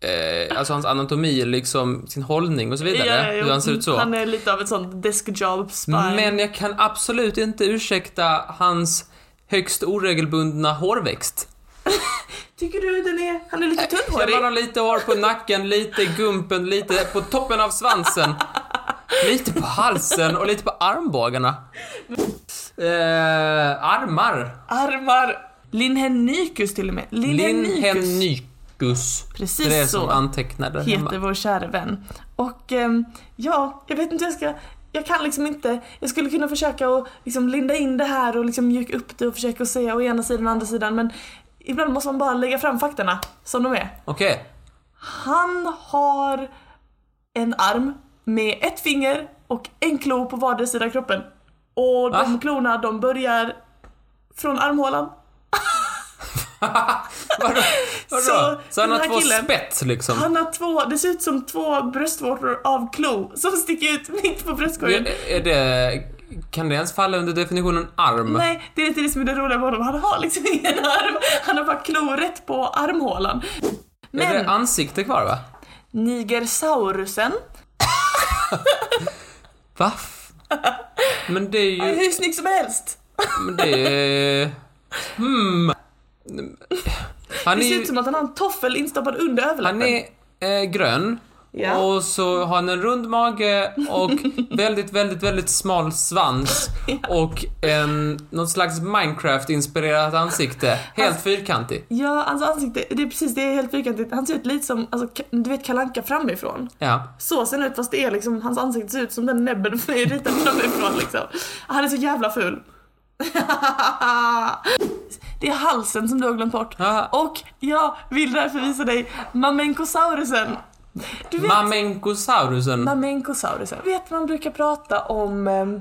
Speaker 1: eh, alltså hans anatomi, liksom sin hållning och så vidare.
Speaker 2: Ja, ja,
Speaker 1: hur han ser ut så.
Speaker 2: Han är lite av ett sånt desk job spy.
Speaker 1: Men jag kan absolut inte ursäkta hans högst oregelbundna hårväxt.
Speaker 2: Tycker du den är... Han är lite
Speaker 1: Jag
Speaker 2: tunnhårig.
Speaker 1: bara har lite hår på nacken, lite i gumpen, lite på toppen av svansen. Lite på halsen och lite på armbågarna. Eh, armar.
Speaker 2: Armar. Linhennykus till och med. Linhennykus
Speaker 1: Linhennykus.
Speaker 2: Precis
Speaker 1: det är
Speaker 2: så.
Speaker 1: som antecknade
Speaker 2: heter
Speaker 1: hemma.
Speaker 2: vår kära vän. Och ehm, ja, jag vet inte hur jag ska... Jag kan liksom inte... Jag skulle kunna försöka att liksom linda in det här och liksom mjuka upp det och försöka att säga å ena sidan och andra sidan men ibland måste man bara lägga fram faktorna som de är.
Speaker 1: Okej.
Speaker 2: Han har en arm med ett finger och en klo på vardera sida av kroppen. Och de
Speaker 1: Va?
Speaker 2: klorna de börjar från armhålan.
Speaker 1: Vadå? Vadå?
Speaker 2: [LAUGHS] Så,
Speaker 1: Så, han
Speaker 2: den
Speaker 1: har
Speaker 2: här
Speaker 1: två
Speaker 2: killen-
Speaker 1: spett liksom?
Speaker 2: Han har två, det ser ut som två bröstvårtor av klo som sticker ut mitt på bröstkorgen.
Speaker 1: Är, är det... Kan det ens falla under definitionen arm?
Speaker 2: Nej, det är inte det som är det roliga med honom. Han har liksom ingen arm. Han har bara klo rätt på armhålan.
Speaker 1: Är det
Speaker 2: Men
Speaker 1: ansikte kvar va?
Speaker 2: nigersaurusen, [LAUGHS]
Speaker 1: Va? F- Men det är ju...
Speaker 2: hur snygg som helst.
Speaker 1: Men det är... Hmm. Han
Speaker 2: Det
Speaker 1: är,
Speaker 2: ser ut
Speaker 1: ju-
Speaker 2: som att han har en toffel instoppad under överläppen.
Speaker 1: han är eh, grön.
Speaker 2: Ja.
Speaker 1: Och så har han en rund mage
Speaker 2: [LAUGHS]
Speaker 1: och väldigt, väldigt, väldigt smal svans. Och en, någon slags Minecraft-inspirerat ansikte.
Speaker 2: Alltså-
Speaker 1: Helt fyrkantig.
Speaker 2: Ja, hans ansikte, det är precis, det är helt fyrkantigt. Han ser ut lite som, alltså, Ka- du vet kalanka framifrån.
Speaker 1: Ja.
Speaker 2: Så ser han ut fast det är liksom, hans ansikte ser ut som den näbben [LAUGHS] är ritad framifrån liksom. Han är så jävla ful. [LAUGHS] Det är halsen som du har glömt bort.
Speaker 1: Ah.
Speaker 2: Och jag vill därför visa dig Mamenkosaurusen. Du vet,
Speaker 1: Mamenkosaurusen.
Speaker 2: Mamenkosaurusen. Du vet man brukar prata om ehm,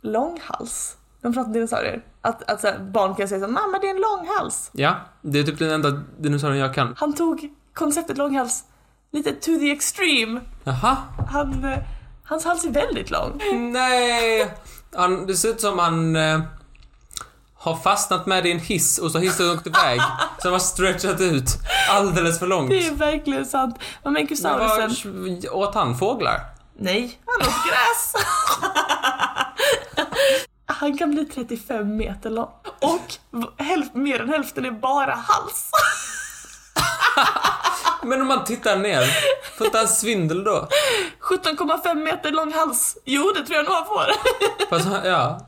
Speaker 2: långhals. De pratar om dinosaurier. Att, att så här, barn kan säga så här, mamma det är en långhals.
Speaker 1: Ja, det är typ den enda dinosaurien jag kan.
Speaker 2: Han tog konceptet långhals lite to the extreme.
Speaker 1: Jaha?
Speaker 2: Han, eh, hans hals är väldigt lång.
Speaker 1: Nej! Han, det ser ut som han eh, har fastnat med i en hiss och så har hissen åkt iväg. så han har stretchat ut alldeles för långt.
Speaker 2: Det är verkligen sant. Men
Speaker 1: Men
Speaker 2: Menkosaurusen...
Speaker 1: var, åt han fåglar?
Speaker 2: Nej, han åt gräs. [LAUGHS] Han kan bli 35 meter lång. Och v- hälf, mer än hälften är bara hals.
Speaker 1: Men om man tittar ner, får inte han svindel då?
Speaker 2: 17,5 meter lång hals. Jo, det tror jag nog han får. [LAUGHS]
Speaker 1: Fast, han- ja.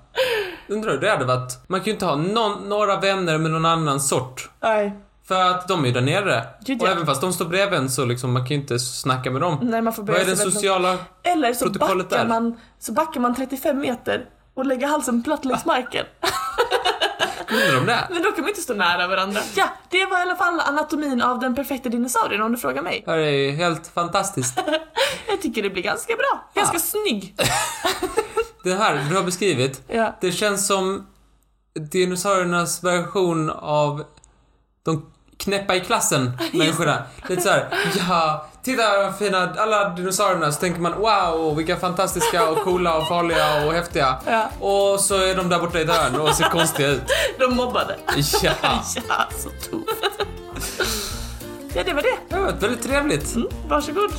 Speaker 1: Undrar hur det hade varit. Man kan ju inte ha någon, några vänner med någon annan sort.
Speaker 2: Nej.
Speaker 1: För att de är ju där nere.
Speaker 2: Gud,
Speaker 1: Och
Speaker 2: ja.
Speaker 1: även fast de står bredvid en så liksom, man kan ju inte snacka med dem.
Speaker 2: Nej, man får
Speaker 1: Vad
Speaker 2: börja
Speaker 1: är den
Speaker 2: sig väldigt
Speaker 1: sociala...
Speaker 2: Eller så
Speaker 1: Protokollet
Speaker 2: backar,
Speaker 1: där.
Speaker 2: man, så backar man 35 meter och lägger halsen platt längs marken.
Speaker 1: Undrar om det? är?
Speaker 2: Ah. Men då kan man inte stå nära varandra. Ja, det var i alla fall anatomin av den perfekta dinosaurien om du frågar mig.
Speaker 1: Det här är ju helt fantastiskt.
Speaker 2: Jag tycker det blir ganska bra. Ganska snygg.
Speaker 1: Det här du har beskrivit,
Speaker 2: Ja.
Speaker 1: det känns som dinosauriernas version av de knäppa i klassen människorna. Lite såhär, ja, titta vad fina alla dinosaurierna så tänker man wow vilka fantastiska och coola och farliga och häftiga.
Speaker 2: Ja.
Speaker 1: Och så är de där borta i ett hörn och ser konstiga ut.
Speaker 2: De mobbade.
Speaker 1: Ja,
Speaker 2: [LAUGHS] Ja, så tufft. Ja, det var det.
Speaker 1: det har varit väldigt trevligt.
Speaker 2: Mm. Varsågod.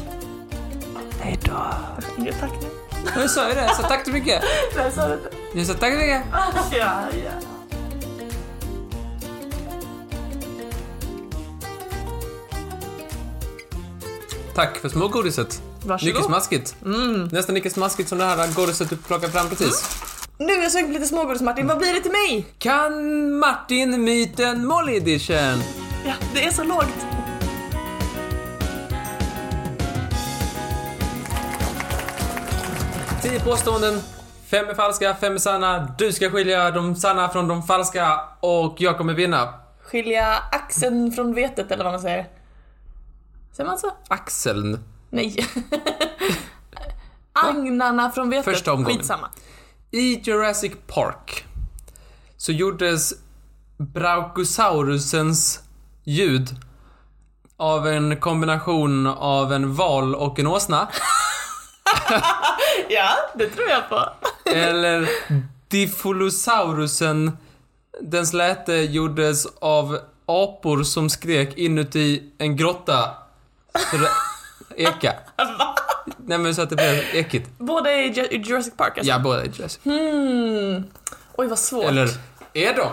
Speaker 2: Hej då. Inget tack nu.
Speaker 1: Jag sa ju det, så tack så mycket.
Speaker 2: Nej, sa du inte.
Speaker 1: Jag sa tack så mycket.
Speaker 2: Ja, ja.
Speaker 1: Tack för smågodiset.
Speaker 2: Varsågod. Mm.
Speaker 1: Mycket smaskigt. Nästan lika smaskigt som det här godiset du plockade fram precis.
Speaker 2: Nu är jag sugen på lite smågodis Martin. Vad blir det till mig?
Speaker 1: Kan Martin myten Molly edition?
Speaker 2: Ja, det är så lågt.
Speaker 1: Tio påståenden. Fem är falska, fem är sanna. Du ska skilja de sanna från de falska och jag kommer vinna.
Speaker 2: Skilja axeln från vetet eller vad man säger. Säger man så?
Speaker 1: Axeln.
Speaker 2: Nej. Agnarna från vetet.
Speaker 1: Första omgången.
Speaker 2: Skitsamma.
Speaker 1: I Jurassic Park så gjordes Brachiosaurusens ljud av en kombination av en val och en åsna.
Speaker 2: Ja, det tror jag på.
Speaker 1: Eller Diphylosaurusen. Den släte gjordes av apor som skrek inuti en grotta Så det, eka. Nej men så att det blir ekigt.
Speaker 2: Båda är i Ju- i Jurassic Park alltså.
Speaker 1: Ja, båda är Jurassic.
Speaker 2: Oj vad svårt.
Speaker 1: Eller är de?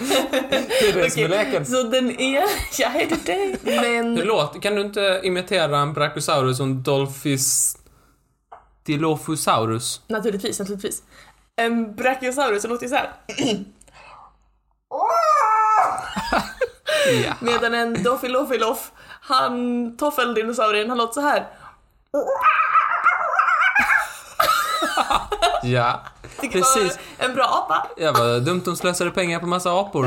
Speaker 1: det är det som är leken.
Speaker 2: Så den är... [LAUGHS] Jag heter dig.
Speaker 1: Hur
Speaker 4: Men
Speaker 1: låter, kan du inte imitera en brachiosaurus som en Dolphis... Dilophosaurus?
Speaker 2: Naturligtvis, naturligtvis. En brachiosaurus låter ju såhär.
Speaker 1: [LAUGHS] Ja.
Speaker 2: Medan en Doffilofilof, han toffeldinosaurien, han låter så här.
Speaker 1: Ja.
Speaker 2: Vilket var
Speaker 1: Precis.
Speaker 2: En bra apa.
Speaker 1: Jag var dumt de slösade pengar på massa apor.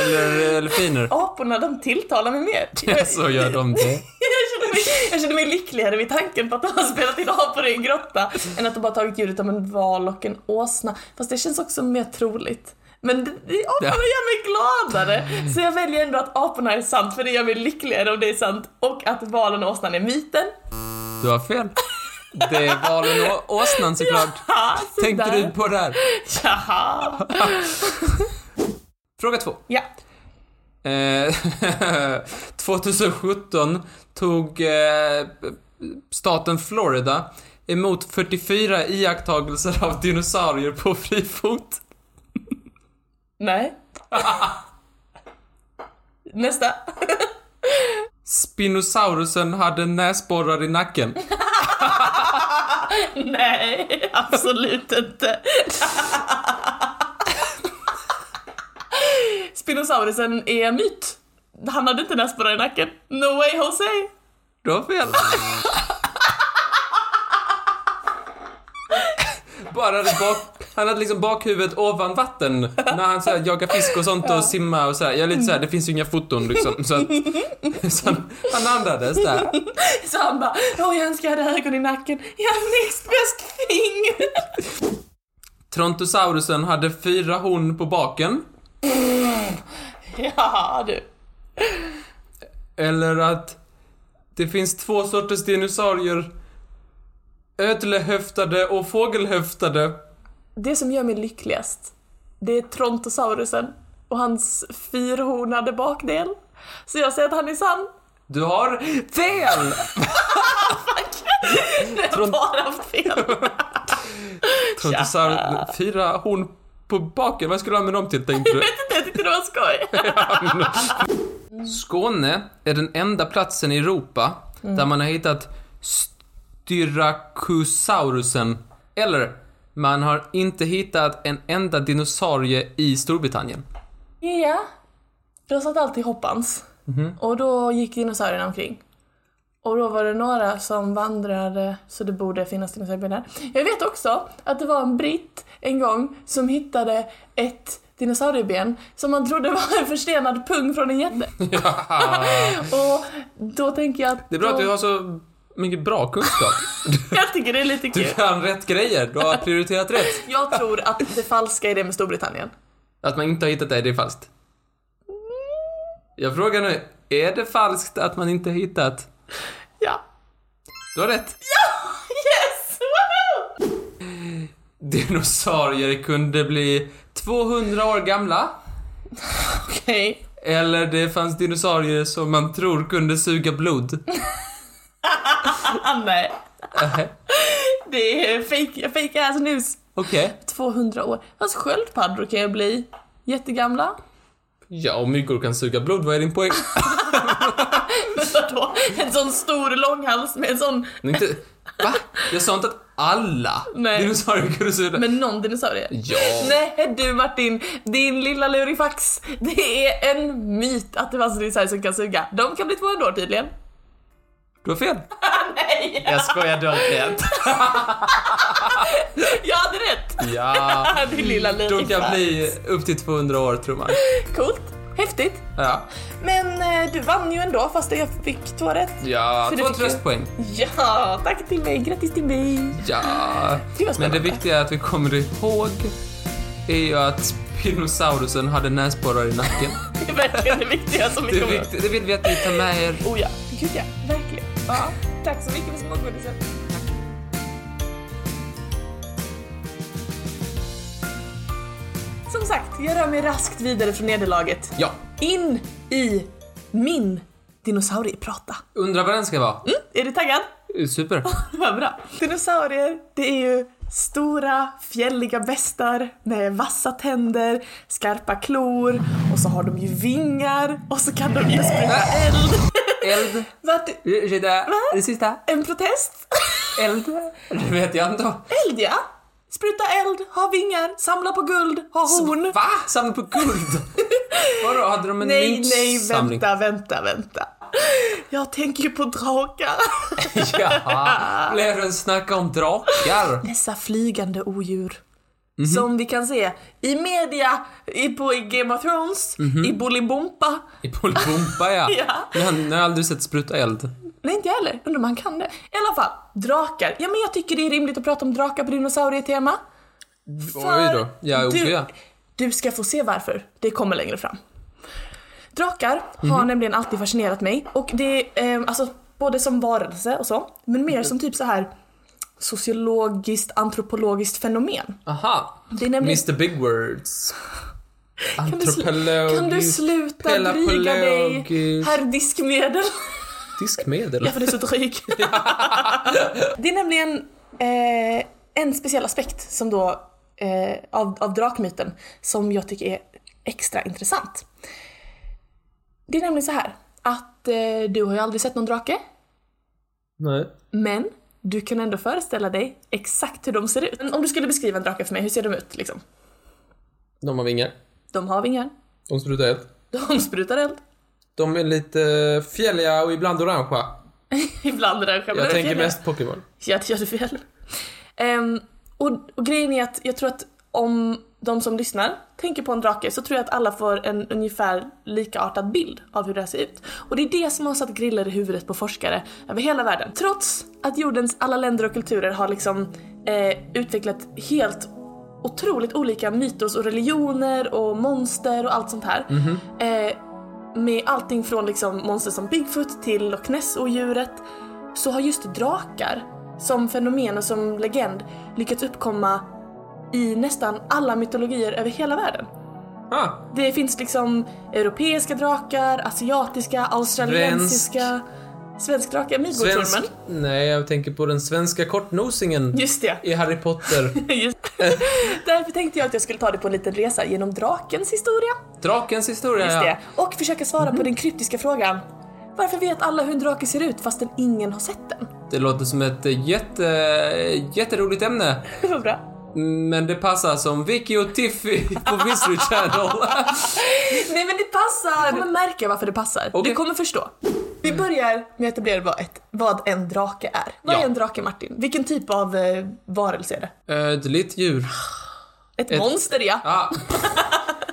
Speaker 1: Eller delfiner.
Speaker 2: Aporna de tilltalar mig mer.
Speaker 1: Ja, [LAUGHS] så gör de det.
Speaker 2: Jag känner, mig, jag känner mig lyckligare vid tanken på att de har spelat in apor i en grotta än att de bara tagit ljudet av en val och en åsna. Fast det känns också mer troligt. Men det, det,
Speaker 1: Ja.
Speaker 2: aporna gör mig gladare! Så jag väljer ändå att aporna är sant för det gör mig lyckligare om det är sant och att valen och åsnan är myten.
Speaker 1: Du har fel. Det är valen och åsnan såklart.
Speaker 2: Ha, så
Speaker 1: Tänkte
Speaker 2: där.
Speaker 1: du på det här?
Speaker 2: Jaha.
Speaker 1: Fråga två.
Speaker 2: Ja.
Speaker 1: Eh, [LAUGHS] 2017 tog eh, staten Florida emot 44 iakttagelser av dinosaurier på fri fot. [LAUGHS]
Speaker 2: Nej. Nästa.
Speaker 1: Spinosaurusen hade näsborrar i nacken.
Speaker 2: [LAUGHS] Nej, absolut inte. Spinosaurusen är myt. Han hade inte näsborrar i nacken. No way Jose!
Speaker 1: Du har fel. Bara det bak, han hade liksom bakhuvudet ovan vatten när han så här jagar fisk och sånt och simmar och så här. Jag är lite så här, det finns ju inga foton liksom. Så, att, [LAUGHS] så han, han andades där.
Speaker 2: Så han bara, åh jag önskar jag hade ögon i nacken. Jag har näst bäst finger.
Speaker 1: Trontosaurusen hade fyra horn på baken.
Speaker 2: [LAUGHS] Ja du.
Speaker 1: Eller att det finns två sorters dinosaurier. Ödlehöftade och fågelhöftade.
Speaker 2: Det som gör mig lyckligast, det är Trontosaurusen och hans fyrhornade bakdel. Så jag säger att han är sann.
Speaker 1: Du har fel!
Speaker 2: Jag har bara haft fel.
Speaker 1: Trontosaurus, fyra horn på baken. Vad skulle du ha med dem till tänkte du?
Speaker 2: Jag tyckte det var skoj.
Speaker 1: Skåne är den enda platsen i Europa där man har hittat Styracusaurusen. Eller, man har inte hittat en enda dinosaurie i Storbritannien.
Speaker 2: Ja. Då satt alltid hoppans.
Speaker 1: Mhm.
Speaker 2: Och då gick dinosaurierna omkring. Och då var det några som vandrade, så det borde finnas dinosaurier där. Jag vet också att det var en britt en gång som hittade ett dinosaurieben som man trodde var en förstenad pung från
Speaker 1: [LAUGHS]
Speaker 2: en jätte. och då tänker jag att...
Speaker 1: Det är bra att
Speaker 2: då,
Speaker 1: du har så mycket bra kunskap.
Speaker 2: Jag tycker det är lite
Speaker 1: Du
Speaker 2: kul.
Speaker 1: kan rätt grejer, du har prioriterat rätt.
Speaker 2: Jag tror att det falska är det med Storbritannien.
Speaker 1: Att man inte har hittat det, det är falskt. Jag frågar nu, är det falskt att man inte har hittat?
Speaker 2: Ja.
Speaker 1: Du har rätt.
Speaker 2: Yes! Woohoo!
Speaker 1: Dinosaurier kunde bli 200 år gamla.
Speaker 2: Okej.
Speaker 1: Eller det fanns dinosaurier som man tror kunde suga blod.
Speaker 2: Ah, nej. [LAUGHS] Det är fake, fake ass news.
Speaker 1: Okej.
Speaker 2: 200 år. Alltså sköldpaddor kan ju bli
Speaker 1: [LAUGHS]
Speaker 2: jättegamla.
Speaker 1: Ja, om myggor kan suga blod, vad är din poäng? [LAUGHS]
Speaker 2: Men vadå? En sån stor långhals med en sån...
Speaker 1: Men inte... Va? Jag sa inte att alla
Speaker 2: Nej.
Speaker 1: dinosaurier kunde suga...
Speaker 2: Med någon dinosaurie.
Speaker 1: Ja.
Speaker 2: Nej du Martin, din lilla lurifax. Det är en myt att det fanns dinosaurier som kan suga. De kan bli 200 år tydligen.
Speaker 1: Du har fel.
Speaker 2: [LAUGHS] Nej,
Speaker 1: Jag skojar, du har rätt.
Speaker 2: jag hade rätt.
Speaker 1: Ja.
Speaker 2: Din lilla
Speaker 1: Mm, De
Speaker 2: lurifax.
Speaker 1: kan bli upp till 200 år, tror man.
Speaker 2: Coolt. Häftigt.
Speaker 1: Ja.
Speaker 2: Men eh, du vann ju ändå fast jag fick två rätt.
Speaker 1: Ja,
Speaker 2: För du
Speaker 1: två
Speaker 2: fick ju-
Speaker 1: tröstpoäng.
Speaker 2: Ja, tack till mig. Grattis till mig.
Speaker 1: Ja.
Speaker 2: Det var spännande.
Speaker 1: Men det viktiga att vi kommer ihåg är ju att Spinosaurusen hade näsborrar i nacken.
Speaker 2: Det är verkligen det viktiga som vi
Speaker 1: Det, är
Speaker 2: kommer ihåg.
Speaker 1: viktigt, det vill vi att ni tar med er.
Speaker 2: Oh ja, gud ja, verkligen. Ja. Tack så mycket för smågodisen. Som sagt, jag rör mig raskt vidare från nederlaget.
Speaker 1: Ja.
Speaker 2: In i min dinosaurier prata.
Speaker 1: Undrar vad den ska vara.
Speaker 2: Är du taggad?
Speaker 1: Super.
Speaker 2: [LAUGHS] Vad bra. Dinosaurier, det är ju stora fjälliga västar med vassa tänder, skarpa klor och så har de ju vingar och så kan de ju springa eld.
Speaker 1: Eld.
Speaker 2: Vart,
Speaker 1: J'ai det. Det sista.
Speaker 2: en protest? [LAUGHS]
Speaker 1: Eld. Det vet jag inte.
Speaker 2: Eld ja! Spruta eld, ha vingar, samla på guld, ha horn.
Speaker 1: Va? Samla på guld? Vadå, hade de en
Speaker 2: Nej, nej,
Speaker 1: myntsamling?
Speaker 2: vänta, vänta, vänta. Jag tänker ju på drakar.
Speaker 1: [LAUGHS] Jaha, blev det en snacka om drakar?
Speaker 2: Dessa flygande odjur. Som vi kan se i media, i, på, i Game of Thrones, i Bolibompa.
Speaker 1: I Polipompa ja.
Speaker 2: Ja.
Speaker 1: Men jag har aldrig sett spruta eld.
Speaker 2: Nej, inte jag heller. Undrar om han kan det. I alla fall, drakar. Ja, men jag tycker det är rimligt att prata om drakar på dinosaurietema.
Speaker 1: Oj då, jag är
Speaker 2: du,
Speaker 1: OP.
Speaker 2: du ska få se varför. Det kommer längre fram. Drakar
Speaker 1: Mhm.
Speaker 2: har nämligen alltid fascinerat mig och det är eh, alltså både som varelse och så, men
Speaker 1: Mhm.
Speaker 2: mer som typ så här sociologiskt antropologiskt fenomen.
Speaker 1: Aha,
Speaker 2: Det är nämligen...
Speaker 1: Mr Big Words.
Speaker 2: [LAUGHS] Kan du, sl-
Speaker 1: Antropolog...
Speaker 2: kan du sluta
Speaker 1: pelapolog-
Speaker 2: dryga dig, herr diskmedel?
Speaker 1: Diskmedel?
Speaker 2: Ja, för det är så dryg.
Speaker 1: [LAUGHS]
Speaker 2: det är nämligen eh, en speciell aspekt som då, eh, av, av drakmyten som jag tycker är extra intressant. Det är nämligen så här att eh, du har ju aldrig sett någon drake,
Speaker 1: Nej.
Speaker 2: men du kan ändå föreställa dig exakt hur de ser ut. Men Om du skulle beskriva en drake för mig, hur ser de ut liksom?
Speaker 1: De har vingar.
Speaker 2: De har vingar,
Speaker 1: De sprutar eld.
Speaker 2: de sprutar eld,
Speaker 1: De är lite fjälliga och ibland orangea.
Speaker 2: ibland rör
Speaker 1: Jag tänker mest Pokémon.
Speaker 2: Ja, det gör du väl. Ehm, och, och grejen är att jag tror att om de som lyssnar tänker på en drake så tror jag att alla får en ungefär likartad bild av hur det här ser ut. Och det är det som har satt griller i huvudet på forskare över hela världen. Trots att jordens alla länder och kulturer har liksom eh, utvecklat helt otroligt olika mytos och religioner och monster och allt sånt här. Eh, med allting från liksom monster som Bigfoot till Loch Ness-odjuret så har just drakar som fenomen och som legend lyckats uppkomma i nästan alla mytologier över hela världen.
Speaker 1: Ah,
Speaker 2: Det finns liksom europeiska drakar, asiatiska, australiensiska, svensk drake, Midgårdsormen.
Speaker 1: svensk... Nej, jag tänker på den svenska kortnosingen
Speaker 2: Just det. [LAUGHS]
Speaker 1: i Harry Potter.
Speaker 2: Just. Därför tänkte jag att jag skulle ta dig på en liten resa genom drakens historia.
Speaker 1: Drakens historia,
Speaker 2: Just
Speaker 1: ja. Mhm.
Speaker 2: det. Och försöka svara på den kryptiska frågan. Varför vet alla hur en drake ser ut fastän ingen har sett den? [LAUGHS]
Speaker 1: Det låter som ett eh, jätte, jätteroligt ämne.
Speaker 2: Vad bra.
Speaker 1: Men det passar som Vicky och Tiffy på Mystery Channel. [LAUGHS]
Speaker 2: Nej men det passar! Du kommer märka varför det passar.
Speaker 1: Okej.
Speaker 2: Du kommer förstå. Vi börjar med att etablera vad, ett, vad en drake är. Vad
Speaker 1: Ja.
Speaker 2: är en drake Martin? Vilken typ av eh, varelse är det?
Speaker 1: Ödligt djur.
Speaker 2: Ett, monster ja.
Speaker 1: Ja.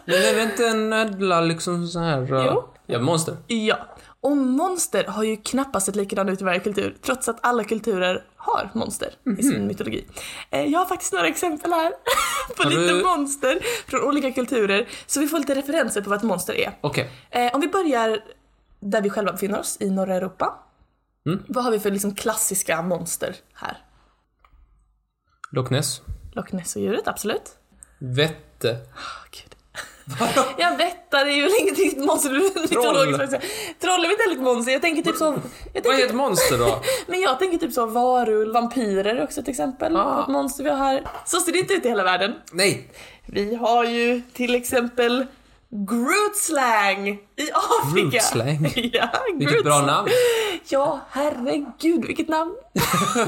Speaker 1: Men är det inte en ödla liksom så här? eh,
Speaker 2: Jo.
Speaker 1: Ja, monster.
Speaker 2: Ja. Och monster har ju knappast sett likadana ut i varje kultur, trots att alla kulturer har monster i sin mytologi. Eh, Jag har faktiskt några exempel här [LAUGHS] på
Speaker 1: Har du-
Speaker 2: lite monster från olika kulturer, så vi får lite referenser på vad ett monster är.
Speaker 1: Okej.
Speaker 2: Eh, Om vi börjar där vi själva befinner oss, i norra Europa.
Speaker 1: Mm.
Speaker 2: Vad har vi för liksom klassiska monster här?
Speaker 1: Loch Ness.
Speaker 2: Loch Ness-djuret, absolut.
Speaker 1: Vette.
Speaker 2: Åh, Gud. [LAUGHS] Jag vättar det är ju inget riktigt monster. [LAUGHS] mytologiskt, ska jag säga. Troll är väl inte heller ett monster? Jag tänker typ så... Jag
Speaker 1: Vad
Speaker 2: tänker-
Speaker 1: är ett monster då?
Speaker 2: Men jag tänker typ så varulv, vampyrer också till exempel.
Speaker 1: Ah.
Speaker 2: Ett monster vi har här. Så ser det inte ut i hela världen.
Speaker 1: Nej.
Speaker 2: Vi har ju till exempel Grootslang i Afrika.
Speaker 1: Grootslang?
Speaker 2: [LAUGHS] ja,
Speaker 1: Vilket bra
Speaker 2: Grootslang.
Speaker 1: namn.
Speaker 2: Ja, herregud vilket namn.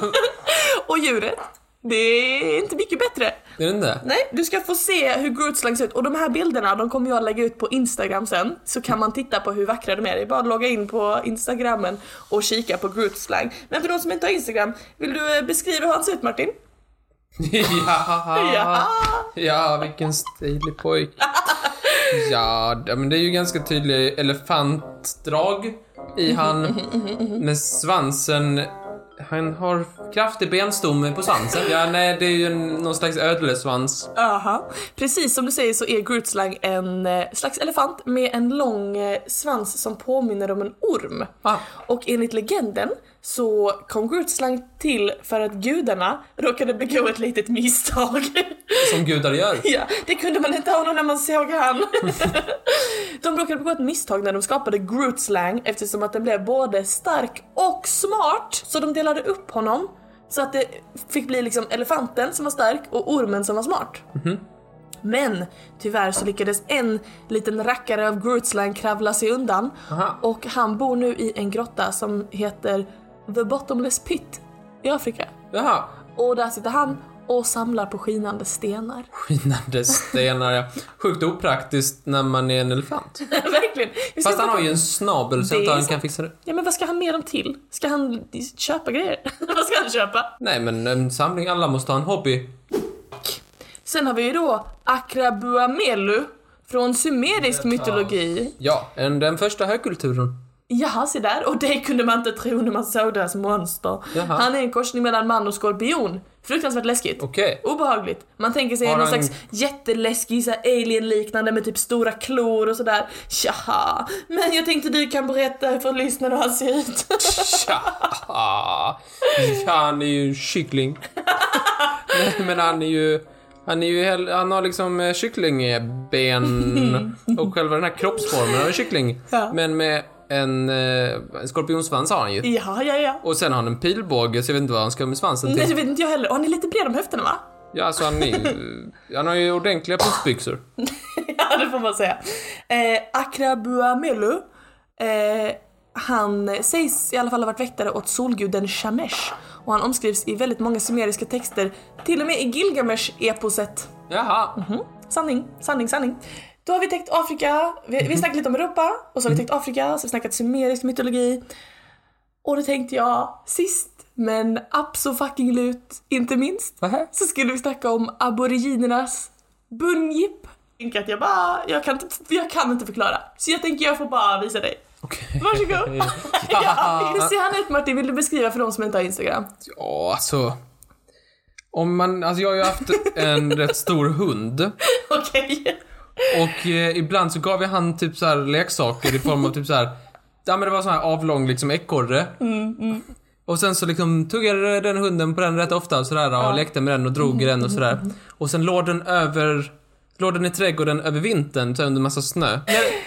Speaker 2: [LAUGHS] Och djuret. Det är inte mycket bättre.
Speaker 1: Är det [LAUGHS] inte?
Speaker 2: Nej, du ska få se hur Grootslang ser ut. Och de här bilderna de kommer jag lägga ut på Instagram sen. Så kan man titta på hur vackra de är. Det är bara att logga in på Instagrammen och kika på Grootslang. Men för de som inte har Instagram, vill du eh, beskriva hur han ser ut Martin? Ja.
Speaker 1: Ja. Ja, vilken stilig pojk. Ja, d- men det är ju ganska tydliga elefantdrag i han med svansen. Han har kraftig benstomme på svansen. Ja, nej, det är ju en, någon slags ödlesvans.
Speaker 2: Aha. Precis som du säger så är Grootslang en eh, slags elefant med en lång eh, svans som påminner om en orm.
Speaker 1: Ah.
Speaker 2: Och enligt legenden så kom Grootslang till för att gudarna råkade begå ett litet misstag. [LAUGHS]
Speaker 1: Som gudar gör.
Speaker 2: ja, det kunde man inte ana när man såg han. [LAUGHS] De råkade begå ett misstag när de skapade Groot-slang eftersom att den blev både stark och smart. Så de delade upp honom så att det fick bli liksom elefanten som var stark och ormen som var smart. Men tyvärr så lyckades en liten rackare av Grootslang kravla sig undan
Speaker 1: Aha.
Speaker 2: och han bor nu i en grotta som heter The Bottomless Pit i Afrika.
Speaker 1: Jaha.
Speaker 2: Och där sitter han och samlar på skinande stenar.
Speaker 1: Skinande stenar, ja. Sjukt opraktiskt när man är en elefant.
Speaker 2: [LAUGHS] Verkligen! Vi ska
Speaker 1: Fast han
Speaker 2: få-
Speaker 1: har ju en snabel så jag
Speaker 2: Det
Speaker 1: antar
Speaker 2: är
Speaker 1: han
Speaker 2: sant.
Speaker 1: kan fixa det.
Speaker 2: Ja men vad ska han med dem till? Ska han köpa grejer? [LAUGHS] vad ska han köpa?
Speaker 1: Nej men en samling, alla måste ha en hobby.
Speaker 2: Sen har vi ju då Akrabuamelu från sumerisk mytologi.
Speaker 1: Ja, en, den första högkulturen.
Speaker 2: Jaha, se där. Och det kunde man inte tro när man såg deras monster.
Speaker 1: Jaha.
Speaker 2: Han är en korsning mellan man och skorpion. Fruktansvärt läskigt.
Speaker 1: Okej.
Speaker 2: Obehagligt. Man tänker sig
Speaker 1: Har
Speaker 2: någon
Speaker 1: han-
Speaker 2: slags jätteläskig så här alien-liknande med typ stora klor och sådär. Tjaha. Men jag tänkte du kan berätta för lyssnarna hur han ser ut.
Speaker 1: Tja! Ja, han är ju en kyckling. Nej, men han är ju... Han, är ju hel, han har liksom eh,
Speaker 2: [LAUGHS]
Speaker 1: kycklingben och själva den här kroppsformen av en kyckling.
Speaker 2: Ja.
Speaker 1: Men med en, eh, en skorpionsvans har han ju.
Speaker 2: [LAUGHS] ja, ja, ja.
Speaker 1: Och sen har han en pilbåge så jag vet inte vad han ska med svansen
Speaker 2: Nej, det
Speaker 1: till.
Speaker 2: vet inte jag heller. Och han är lite bred om höfterna va?
Speaker 1: Ja, alltså han, är, ju- han har ju ordentliga pussbyxor.
Speaker 2: [LAUGHS] ja, det får man säga. Eh, Akrabuamelu, eh, han sägs i alla fall ha varit väktare åt solguden Shamesh och han omskrivs i väldigt många sumeriska texter, till och med i Gilgamesh-eposet.
Speaker 1: Jaha.
Speaker 2: Sanning, sanning, sanning. Då har vi täckt Afrika, vi, vi har snackat lite om Europa och så har vi täckt Afrika, så har vi snackat sumerisk mytologi. Och då tänkte jag sist men fucking lut inte minst
Speaker 1: Nähä.
Speaker 2: så skulle vi snacka om aboriginernas bunjip. Jag tänker att jag bara, jag kan, inte- jag kan inte förklara. Så jag tänker jag får bara visa dig.
Speaker 1: Okej. [LAUGHS]
Speaker 2: Varsågod. ja, hur ser han ut Martin? Vill du beskriva för de som inte har Instagram?
Speaker 1: Ja, alltså... Om man, alltså jag har ju haft en rätt stor hund.
Speaker 2: Okej.
Speaker 1: Och eh, ibland så gav jag han typ så här leksaker i form av typ så här. Ja men det var sån här avlång liksom ekorre. Och sen så liksom tuggade den hunden på den rätt ofta och sådär och lekte med den och drog i den och sådär. Och sen låg den över Låg den i trädgården över vintern så här under massa snö. När,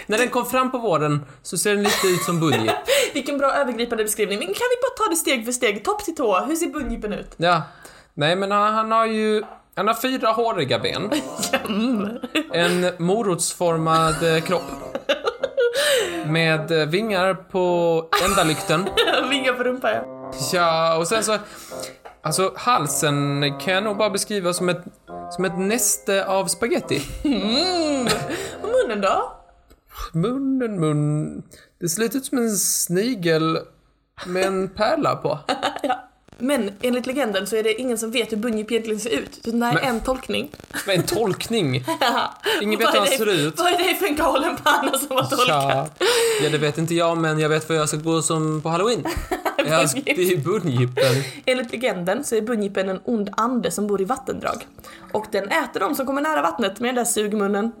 Speaker 1: när den kom fram på våren så ser den lite ut som Bunji.
Speaker 2: Vilken bra övergripande beskrivning. Men kan vi bara ta det steg för steg, topp till tå? Hur ser bunjipen ut?
Speaker 1: Ja. Nej men han, han har ju, han har fyra håriga ben. En morotsformad eh, kropp. Med eh, vingar på ändalykten.
Speaker 2: [LAUGHS] Vingar på rumpa ja.
Speaker 1: Ja, och sen så... Alltså halsen kan jag nog bara beskriva som ett, som ett näste av spaghetti.
Speaker 2: Och munnen då?
Speaker 1: Munnen, mun... Det ser lite ut som en snigel med en pärla på.
Speaker 2: Men enligt legenden så är det ingen som vet hur bunjip egentligen ser ut. Så det här är en tolkning.
Speaker 1: Med en
Speaker 2: [LAUGHS]
Speaker 1: tolkning. Ingen vet
Speaker 2: Vad
Speaker 1: hur
Speaker 2: är
Speaker 1: han
Speaker 2: det-
Speaker 1: ser ut.
Speaker 2: Vad är det för en galen panna som har
Speaker 1: Ja.
Speaker 2: tolkat?
Speaker 1: ja, det vet inte jag, men jag vet vad jag ska gå som på halloween. Jag ska i bungyjippen.
Speaker 2: Enligt legenden så är bunjipen en ond ande som bor i vattendrag. Och den äter de som kommer nära vattnet med den där sugmunnen.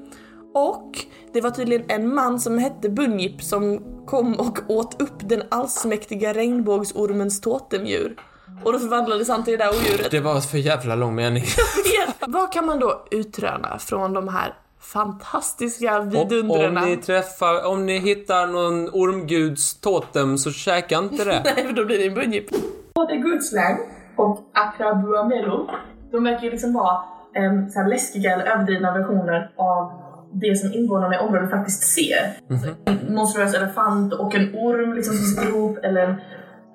Speaker 2: Och det var tydligen en man som hette Bunjip som kom och åt upp den allsmäktiga regnbågsormens totemdjur. Och då förvandlades han till det där odjuret.
Speaker 1: Det var för jävla lång mening.
Speaker 2: [LAUGHS] Vad kan man då utröna från de här fantastiska
Speaker 1: Och Om
Speaker 2: vidundrena?
Speaker 1: ni träffar, om ni hittar någon ormguds totem så käka inte det.
Speaker 2: [LAUGHS] Nej, för då blir det en bunjip. Både Goodslang och Akrabuamelo, de verkar ju liksom vara em, så här läskiga eller överdrivna versioner av det som invånarna i området faktiskt ser. En monstruös elefant och en orm liksom som sitter ihop, eller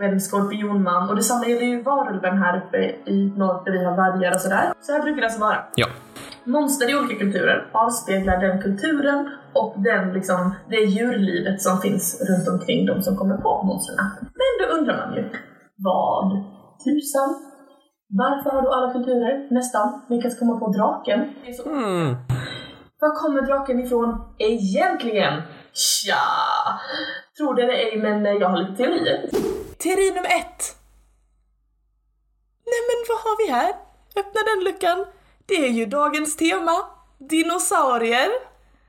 Speaker 2: en, en skorpionman. Och detsamma gäller ju varulven här uppe i norr där vi har vargar och sådär. Så här brukar det alltså vara.
Speaker 1: Ja.
Speaker 2: Monster i olika kulturer avspeglar den kulturen och den, liksom, det djurlivet som finns runt omkring de som kommer på monstren. Men då undrar man ju, vad tusan? Varför har då alla kulturer nästan lyckats komma på draken?
Speaker 1: Mm.
Speaker 2: Var kommer draken ifrån egentligen? Tja! Tror det eller ej, men jag har lite teorier. Teori nummer ett. Nej men vad har vi här? Öppna den luckan. Det är ju dagens tema. Dinosaurier.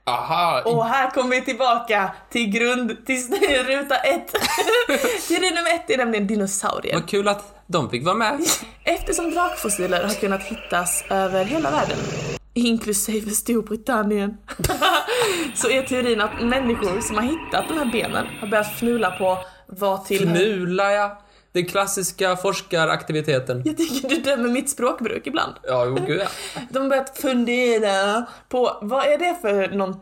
Speaker 1: Aha,
Speaker 2: Och här kommer vi tillbaka till grund, till [LAUGHS] ruta ett. Teori nummer ett är nämligen dinosaurier.
Speaker 1: vad kul att de fick vara med.
Speaker 2: Eftersom drakfossiler har kunnat hittas över hela världen inklusive Storbritannien, [LAUGHS] så är teorin att människor som har hittat de här benen har börjat fnula på vad till...
Speaker 1: Knula, ja. Den klassiska forskaraktiviteten.
Speaker 2: Jag tycker du dömer mitt språkbruk ibland.
Speaker 1: Ja, jo, gud ja.
Speaker 2: De har börjat fundera på vad är det för någon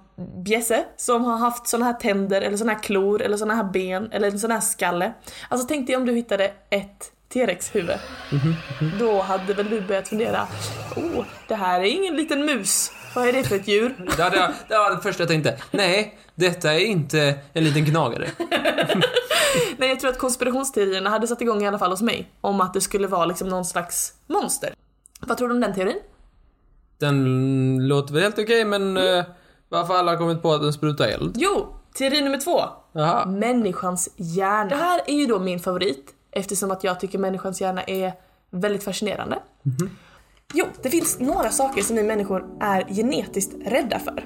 Speaker 2: bjässe som har haft såna här tänder eller såna här klor eller såna här ben eller en sån här skalle. Alltså tänk dig om du hittade ett T-rex huvud. Då hade väl du börjat fundera, oh, det här är ingen liten mus. Vad är det för ett djur?
Speaker 1: Det, hade jag, det var det första jag tänkte. Nej, detta är inte en liten gnagare.
Speaker 2: Nej, jag tror att konspirationsteorierna hade satt igång i alla fall hos mig om att det skulle vara liksom någon slags monster. Vad tror du om den teorin?
Speaker 1: Den låter väl helt okej, men
Speaker 2: Mm.
Speaker 1: eh, varför alla har kommit på att den sprutar eld?
Speaker 2: Jo, teori nummer två. Mm.
Speaker 1: Jaha.
Speaker 2: Människans hjärna. Det här är ju då min favorit eftersom att jag tycker människans hjärna är väldigt fascinerande. Jo, det finns några saker som vi människor är genetiskt rädda för.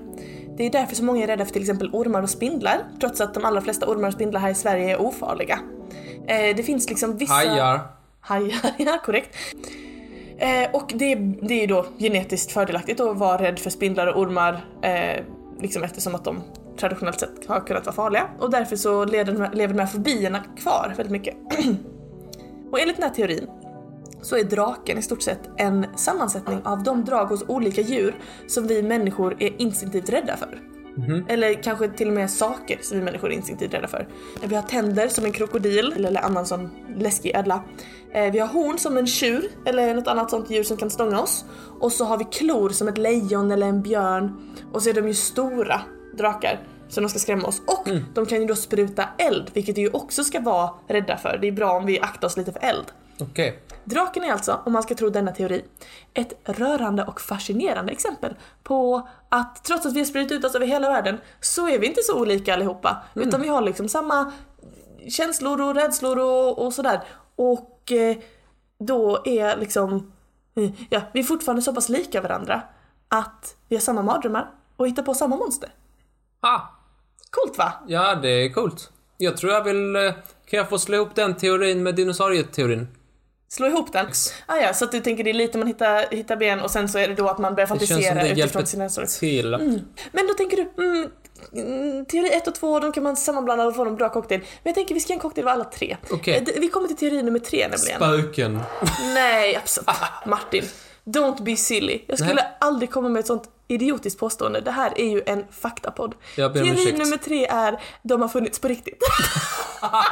Speaker 2: Det är därför så många är rädda för till exempel ormar och spindlar trots att de allra flesta ormar och spindlar här i Sverige är ofarliga. Eh, det finns liksom vissa...
Speaker 1: Hajar.
Speaker 2: Hajar, [LAUGHS] ja korrekt. Eh, och det, det är ju då genetiskt fördelaktigt att vara rädd för spindlar och ormar eh, liksom eftersom att de traditionellt sett har kunnat vara farliga och därför så leder, de här- lever de här fobierna kvar väldigt mycket. [CLEARS THROAT] och enligt den här teorin så är draken i stort sett en sammansättning av de drag hos olika djur som vi människor är instinktivt rädda för. Eller kanske till och med saker som vi människor är instinktivt rädda för. Eh, Vi har tänder som en krokodil eller annan sån läskig ödla. Eh, Vi har horn som en tjur eller något annat sånt djur som kan stånga oss. Och så har vi klor som ett lejon eller en björn. Och så är de ju stora drakar som de ska skrämma oss. Och de kan ju då spruta eld, vilket vi ju också ska vara rädda för. Det är bra om vi aktar oss lite för eld.
Speaker 1: Okej.
Speaker 2: Draken är alltså, om man ska tro denna teori, ett rörande och fascinerande exempel på att trots att vi har spridit ut oss över hela världen så är vi inte så olika allihopa.
Speaker 1: Mm.
Speaker 2: Utan vi har liksom samma känslor och rädslor och, och sådär. Och eh, då är liksom, eh, ja, vi är fortfarande så pass lika varandra att vi har samma mardrömmar och hittar på samma monster.
Speaker 1: Ha!
Speaker 2: Coolt va?
Speaker 1: Ja, det är coolt. Jag tror jag vill... eh, Kan jag få slå ihop den teorin med dinosaurieteorin?
Speaker 2: Slå ihop den. Ah, ja, så att du tänker det är lite man hittar, hittar ben och sen så är det då att man börjar
Speaker 1: Det känns som
Speaker 2: fantisera
Speaker 1: det
Speaker 2: utifrån sina Mm,
Speaker 1: hjälper
Speaker 2: historier.
Speaker 1: till.
Speaker 2: Men då tänker du, mm, mm, teori 1 och 2, de kan man sammanblanda och få en bra cocktail. Men jag tänker vi ska göra en cocktail av alla tre.
Speaker 1: Okej.
Speaker 2: Eh, d- Vi kommer till teori nummer tre nämligen.
Speaker 1: Spöken.
Speaker 2: Nej, absolut.
Speaker 1: Ah.
Speaker 2: Ah, Martin. Don't be silly. Jag skulle aldrig komma med ett sånt idiotiskt påstående. Det här är ju en faktapodd.
Speaker 1: Jag ber om
Speaker 2: Teori
Speaker 1: ursäkt.
Speaker 2: nummer tre är, de har funnits på riktigt.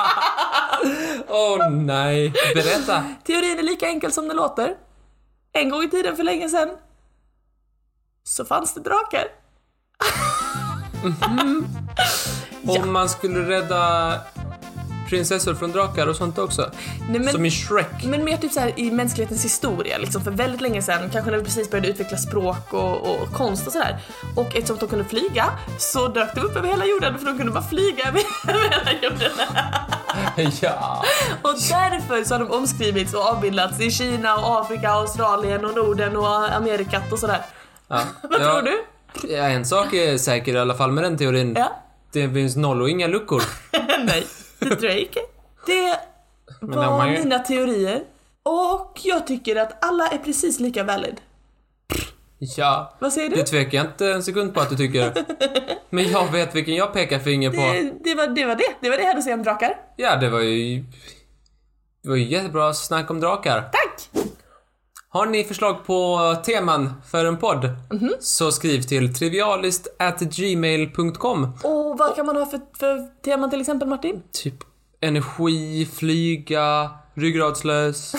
Speaker 2: [LAUGHS]
Speaker 1: Åh nej. Berätta.
Speaker 2: Teorin är lika enkel som den låter. En gång i tiden för länge sedan så fanns det drakar. Ja.
Speaker 1: Om man skulle rädda prinsessor från drakar och sånt också.
Speaker 2: Nej, men-
Speaker 1: Som i Shrek.
Speaker 2: Men mer typ så här i mänsklighetens historia, liksom för väldigt länge sedan, kanske när vi precis började utveckla språk och, och konst och sådär. Och eftersom de kunde flyga så dök de upp över hela jorden för de kunde bara flyga över [LAUGHS] hela jorden.
Speaker 1: [LAUGHS] Ja.
Speaker 2: Och därför så har de omskrivits och avbildats i Kina och Afrika, Australien och Norden och Amerikat och sådär.
Speaker 1: ja.
Speaker 2: [LAUGHS] Vad tror du?
Speaker 1: Ja, en sak är säker i alla fall med den teorin.
Speaker 2: Ja? [LAUGHS]
Speaker 1: Det finns noll och inga luckor.
Speaker 2: Nej, det tror jag inte. Det
Speaker 1: de
Speaker 2: var
Speaker 1: har ju-
Speaker 2: mina teorier. Och jag tycker att alla är precis lika valid.
Speaker 1: Ja.
Speaker 2: Vad säger du?
Speaker 1: Det tvekar jag inte en sekund på att du tycker. Men jag vet vilken jag pekar finger på.
Speaker 2: Det, det, var, det var det. Det var det jag hade att säga om drakar.
Speaker 1: Ja, det var ju... Det var ju jättebra snack om drakar.
Speaker 2: Tack!
Speaker 1: Har ni förslag på teman för en podd? Så skriv till trivialist@gmail.com.
Speaker 2: Och vad kan man ha för, för teman till exempel Martin?
Speaker 1: Typ energi, flyga, ryggradslös.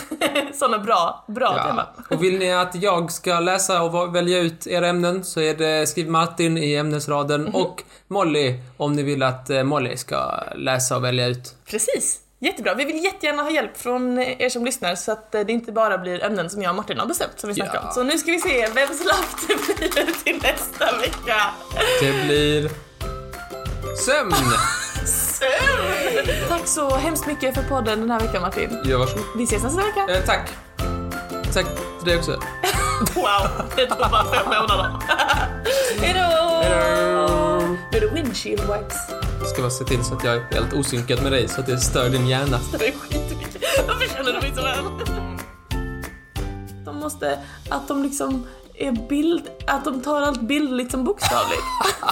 Speaker 2: Sådana bra, bra teman.
Speaker 1: Ja. Och vill ni att jag ska läsa och va- välja ut era ämnen så är det skriv Martin i ämnesraden och Molly om ni vill att eh, Molly ska läsa och välja ut.
Speaker 2: Precis. Jättebra. Vi vill jättegärna ha hjälp från er som lyssnar så att eh, det inte bara blir ämnen som jag och Martin har bestämt som vi snackar
Speaker 1: Ja.
Speaker 2: om. Så nu ska vi se vems lapp det blir till nästa vecka.
Speaker 1: Det blir sömn.
Speaker 2: Sömn! Tack så hemskt mycket för podden den här veckan Martin.
Speaker 1: Ja, varsågod.
Speaker 2: Vi ses nästa vecka.
Speaker 1: Eh, tack. Tack till dig också.
Speaker 2: Wow, det tog bara fem månader. [LAUGHS] Hejdå!
Speaker 1: Hejdå!
Speaker 2: Nu är det windshield wipes.
Speaker 1: Ska bara se till så att jag är helt osynkad med dig så att det stör din hjärna.
Speaker 2: Det är skitmycket. Varför känner du mig så väl? De måste, att de liksom är bild, att de tar allt bildligt
Speaker 1: [LAUGHS]
Speaker 2: som bokstavligt.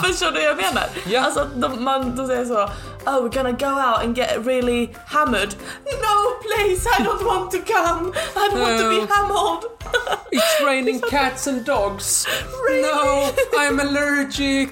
Speaker 2: Förstår du vad jag menar?
Speaker 1: Ja.
Speaker 2: Alltså att de, man, de säger så Oh we're gonna go out and get really hammered. No please I don't want to come. I don't want to
Speaker 1: No.
Speaker 2: be hammered. [LAUGHS]
Speaker 1: It's raining cats and dogs.
Speaker 2: Rain.
Speaker 1: No, I'm allergic.